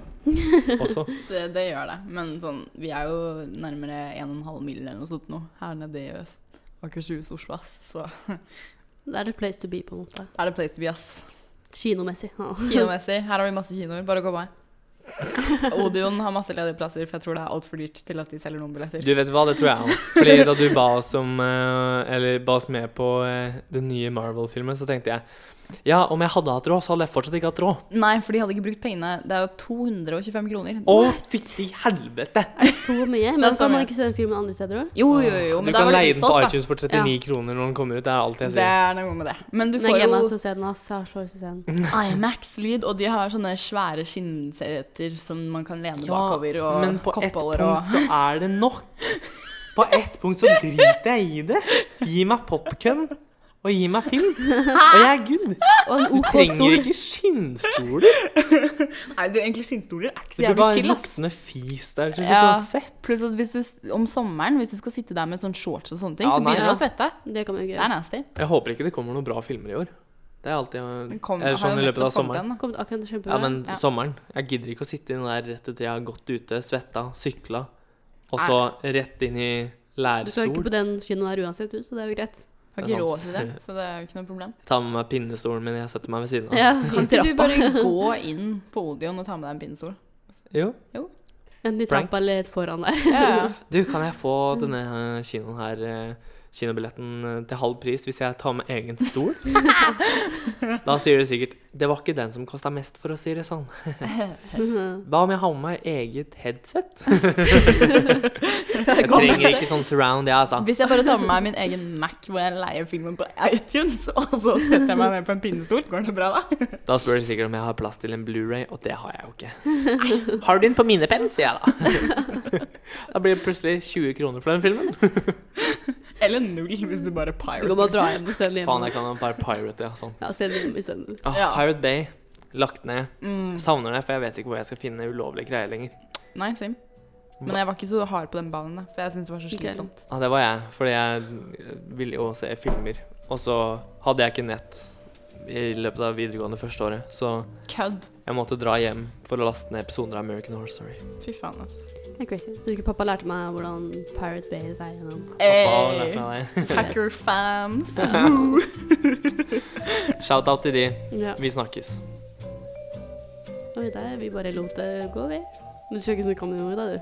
[SPEAKER 1] Også.
[SPEAKER 2] Det, det gjør det, men sånn, vi er jo nærmere 1,5 mil eller noe sånt nå, her nede i øst. Akershus, Oslo, ass. Så
[SPEAKER 3] Det er the place to be, på en måte.
[SPEAKER 2] er det place to be, ass.
[SPEAKER 3] Kinomessig. Ja.
[SPEAKER 2] Kinomessig, her har vi masse kinoer, bare gå meg. Odeon har masse ledige plasser, for jeg tror det er altfor dyrt til at de selger noen billetter.
[SPEAKER 1] Du vet hva, det tror jeg òg. Fordi da du ba oss om eh, Eller ba oss med på eh, den nye Marvel-filmen, så tenkte jeg ja, om jeg hadde hatt råd, så hadde jeg fortsatt ikke hatt råd.
[SPEAKER 2] Nei, for de hadde ikke brukt pengene. Det er jo 225 kroner.
[SPEAKER 1] Å, fytti helvete!
[SPEAKER 3] Så
[SPEAKER 2] Det
[SPEAKER 3] mye.
[SPEAKER 2] er
[SPEAKER 3] Men
[SPEAKER 2] så
[SPEAKER 3] kan man
[SPEAKER 2] mye.
[SPEAKER 3] ikke se den filmen andre steder òg?
[SPEAKER 2] Jo, jo, jo,
[SPEAKER 1] du
[SPEAKER 2] men da
[SPEAKER 1] kan
[SPEAKER 2] var det
[SPEAKER 1] leie den på
[SPEAKER 2] utsolgt, da.
[SPEAKER 1] iTunes for 39 kroner når den kommer ut. Det er alt jeg
[SPEAKER 2] Det
[SPEAKER 1] sier.
[SPEAKER 2] er noe med det. Men du
[SPEAKER 3] Nei,
[SPEAKER 2] får
[SPEAKER 3] jeg gleder
[SPEAKER 2] jo
[SPEAKER 3] meg til å se den. ass. Jeg har så lyst til å se den.
[SPEAKER 2] Imax-lyd, og de har sånne svære skinnseter som man kan lene bakover,
[SPEAKER 1] Ja,
[SPEAKER 2] og
[SPEAKER 1] men på ett
[SPEAKER 2] koppholder
[SPEAKER 1] punkt
[SPEAKER 2] og
[SPEAKER 1] så er det nok. På ett punkt så driter jeg i det. Gi meg popkorn og gi meg film. Og jeg er good.
[SPEAKER 3] Og en
[SPEAKER 1] Du
[SPEAKER 3] OK
[SPEAKER 1] trenger
[SPEAKER 3] stol.
[SPEAKER 1] ikke skinnstoler.
[SPEAKER 2] Nei, du, egentlig skinnstoler er ikke så
[SPEAKER 1] Det blir
[SPEAKER 2] jævlig
[SPEAKER 1] bare
[SPEAKER 2] chill, ass.
[SPEAKER 1] luktende fis der til slutt
[SPEAKER 2] Ja.
[SPEAKER 1] uansett.
[SPEAKER 2] Pluss at hvis du, s- om sommeren, hvis du skal sitte der med sånn shorts og sånne ting,
[SPEAKER 1] Ja,
[SPEAKER 2] så
[SPEAKER 1] nei.
[SPEAKER 2] begynner du å svette.
[SPEAKER 3] Det kan man jo ikke
[SPEAKER 2] Det er
[SPEAKER 3] gjøre.
[SPEAKER 2] nasty.
[SPEAKER 1] Jeg håper ikke det kommer noen bra filmer i år. Det er alltid eh,
[SPEAKER 2] Den kom-
[SPEAKER 1] eh,
[SPEAKER 2] har jo
[SPEAKER 1] sånn i løpet
[SPEAKER 2] nettopp
[SPEAKER 1] av
[SPEAKER 2] kommet
[SPEAKER 1] sommeren.
[SPEAKER 2] den, da.
[SPEAKER 3] Kom, akkurat kjempebra.
[SPEAKER 1] Ja, men
[SPEAKER 2] Ja.
[SPEAKER 1] sommeren. Jeg gidder ikke å sitte inne der rett etter jeg har gått ute, svetta, sykla, og så rett inn i
[SPEAKER 3] du skal jo
[SPEAKER 1] lærestol.
[SPEAKER 3] ikke på den kinoen her uansett, du, så det er jo greit.
[SPEAKER 2] Har
[SPEAKER 1] Det er
[SPEAKER 2] ikke råd til
[SPEAKER 1] sant.
[SPEAKER 2] det, så det er jo ikke noe problem.
[SPEAKER 1] Ta med meg pinnestolen min, jeg setter meg ved siden av.
[SPEAKER 3] Ja,
[SPEAKER 2] Kan ikke du bare gå inn på Odion og ta med deg en pinnestol?
[SPEAKER 1] Jo.
[SPEAKER 3] Men de
[SPEAKER 1] Prank.
[SPEAKER 3] trampa litt foran der.
[SPEAKER 2] Ja, ja.
[SPEAKER 1] Du, kan jeg få denne eh, kinoen her eh, Kinobilletten eh, til halv pris hvis jeg tar med egen stol? da sier du sikkert 'Det var ikke den som kosta mest', for å si det sånn. Hva om jeg har med meg eget headset? Jeg trenger ikke sånn surround, jeg, altså.
[SPEAKER 2] Hvis jeg bare tar med meg min egen Mac hvor jeg leier filmen på iTunes, og så setter jeg meg ned på en pinnestol, går det bra da?
[SPEAKER 1] Da spør de sikkert om jeg har plass til en Blu-ray, og det har jeg jo ikke. Har du den på minnepenn, sier jeg da. Da blir det plutselig 20 kroner for den filmen.
[SPEAKER 2] Eller null, hvis du bare
[SPEAKER 3] Du kan bare
[SPEAKER 2] pirater.
[SPEAKER 3] dra hjem og sende
[SPEAKER 1] Faen,
[SPEAKER 3] hjem.
[SPEAKER 1] jeg kan ha bare Pirate, ja. Sånn.
[SPEAKER 3] Ja, send hjem isteden.
[SPEAKER 1] Åh,
[SPEAKER 2] Ja.
[SPEAKER 1] Pirate Bay. Lagt ned.
[SPEAKER 2] Mm.
[SPEAKER 1] Savner det, for jeg vet ikke hvor jeg skal finne ulovlige greier lenger.
[SPEAKER 2] Nei, same. Men jeg var ikke så hard på den ballen, da, for jeg syntes det var så slitsomt.
[SPEAKER 1] Ja, Ah, det var jeg, fordi jeg ville jo se filmer. Og så hadde jeg ikke nett i løpet av videregående første året, så
[SPEAKER 2] Kødd.
[SPEAKER 1] jeg måtte dra hjem for å laste ned episoder av American Horse Story.
[SPEAKER 2] Fy faen, ass.
[SPEAKER 3] Det er crazy. Jeg Husker pappa lærte meg hvordan Pirate Bay er gjennom.
[SPEAKER 1] Pappa har lært meg det.
[SPEAKER 2] Hackerfams.
[SPEAKER 1] Shout-out til de.
[SPEAKER 3] Ja.
[SPEAKER 1] Vi snakkes.
[SPEAKER 3] Oi, der, vi bare lot det gå, vi. Men du skal ikke så mye om det, da, du.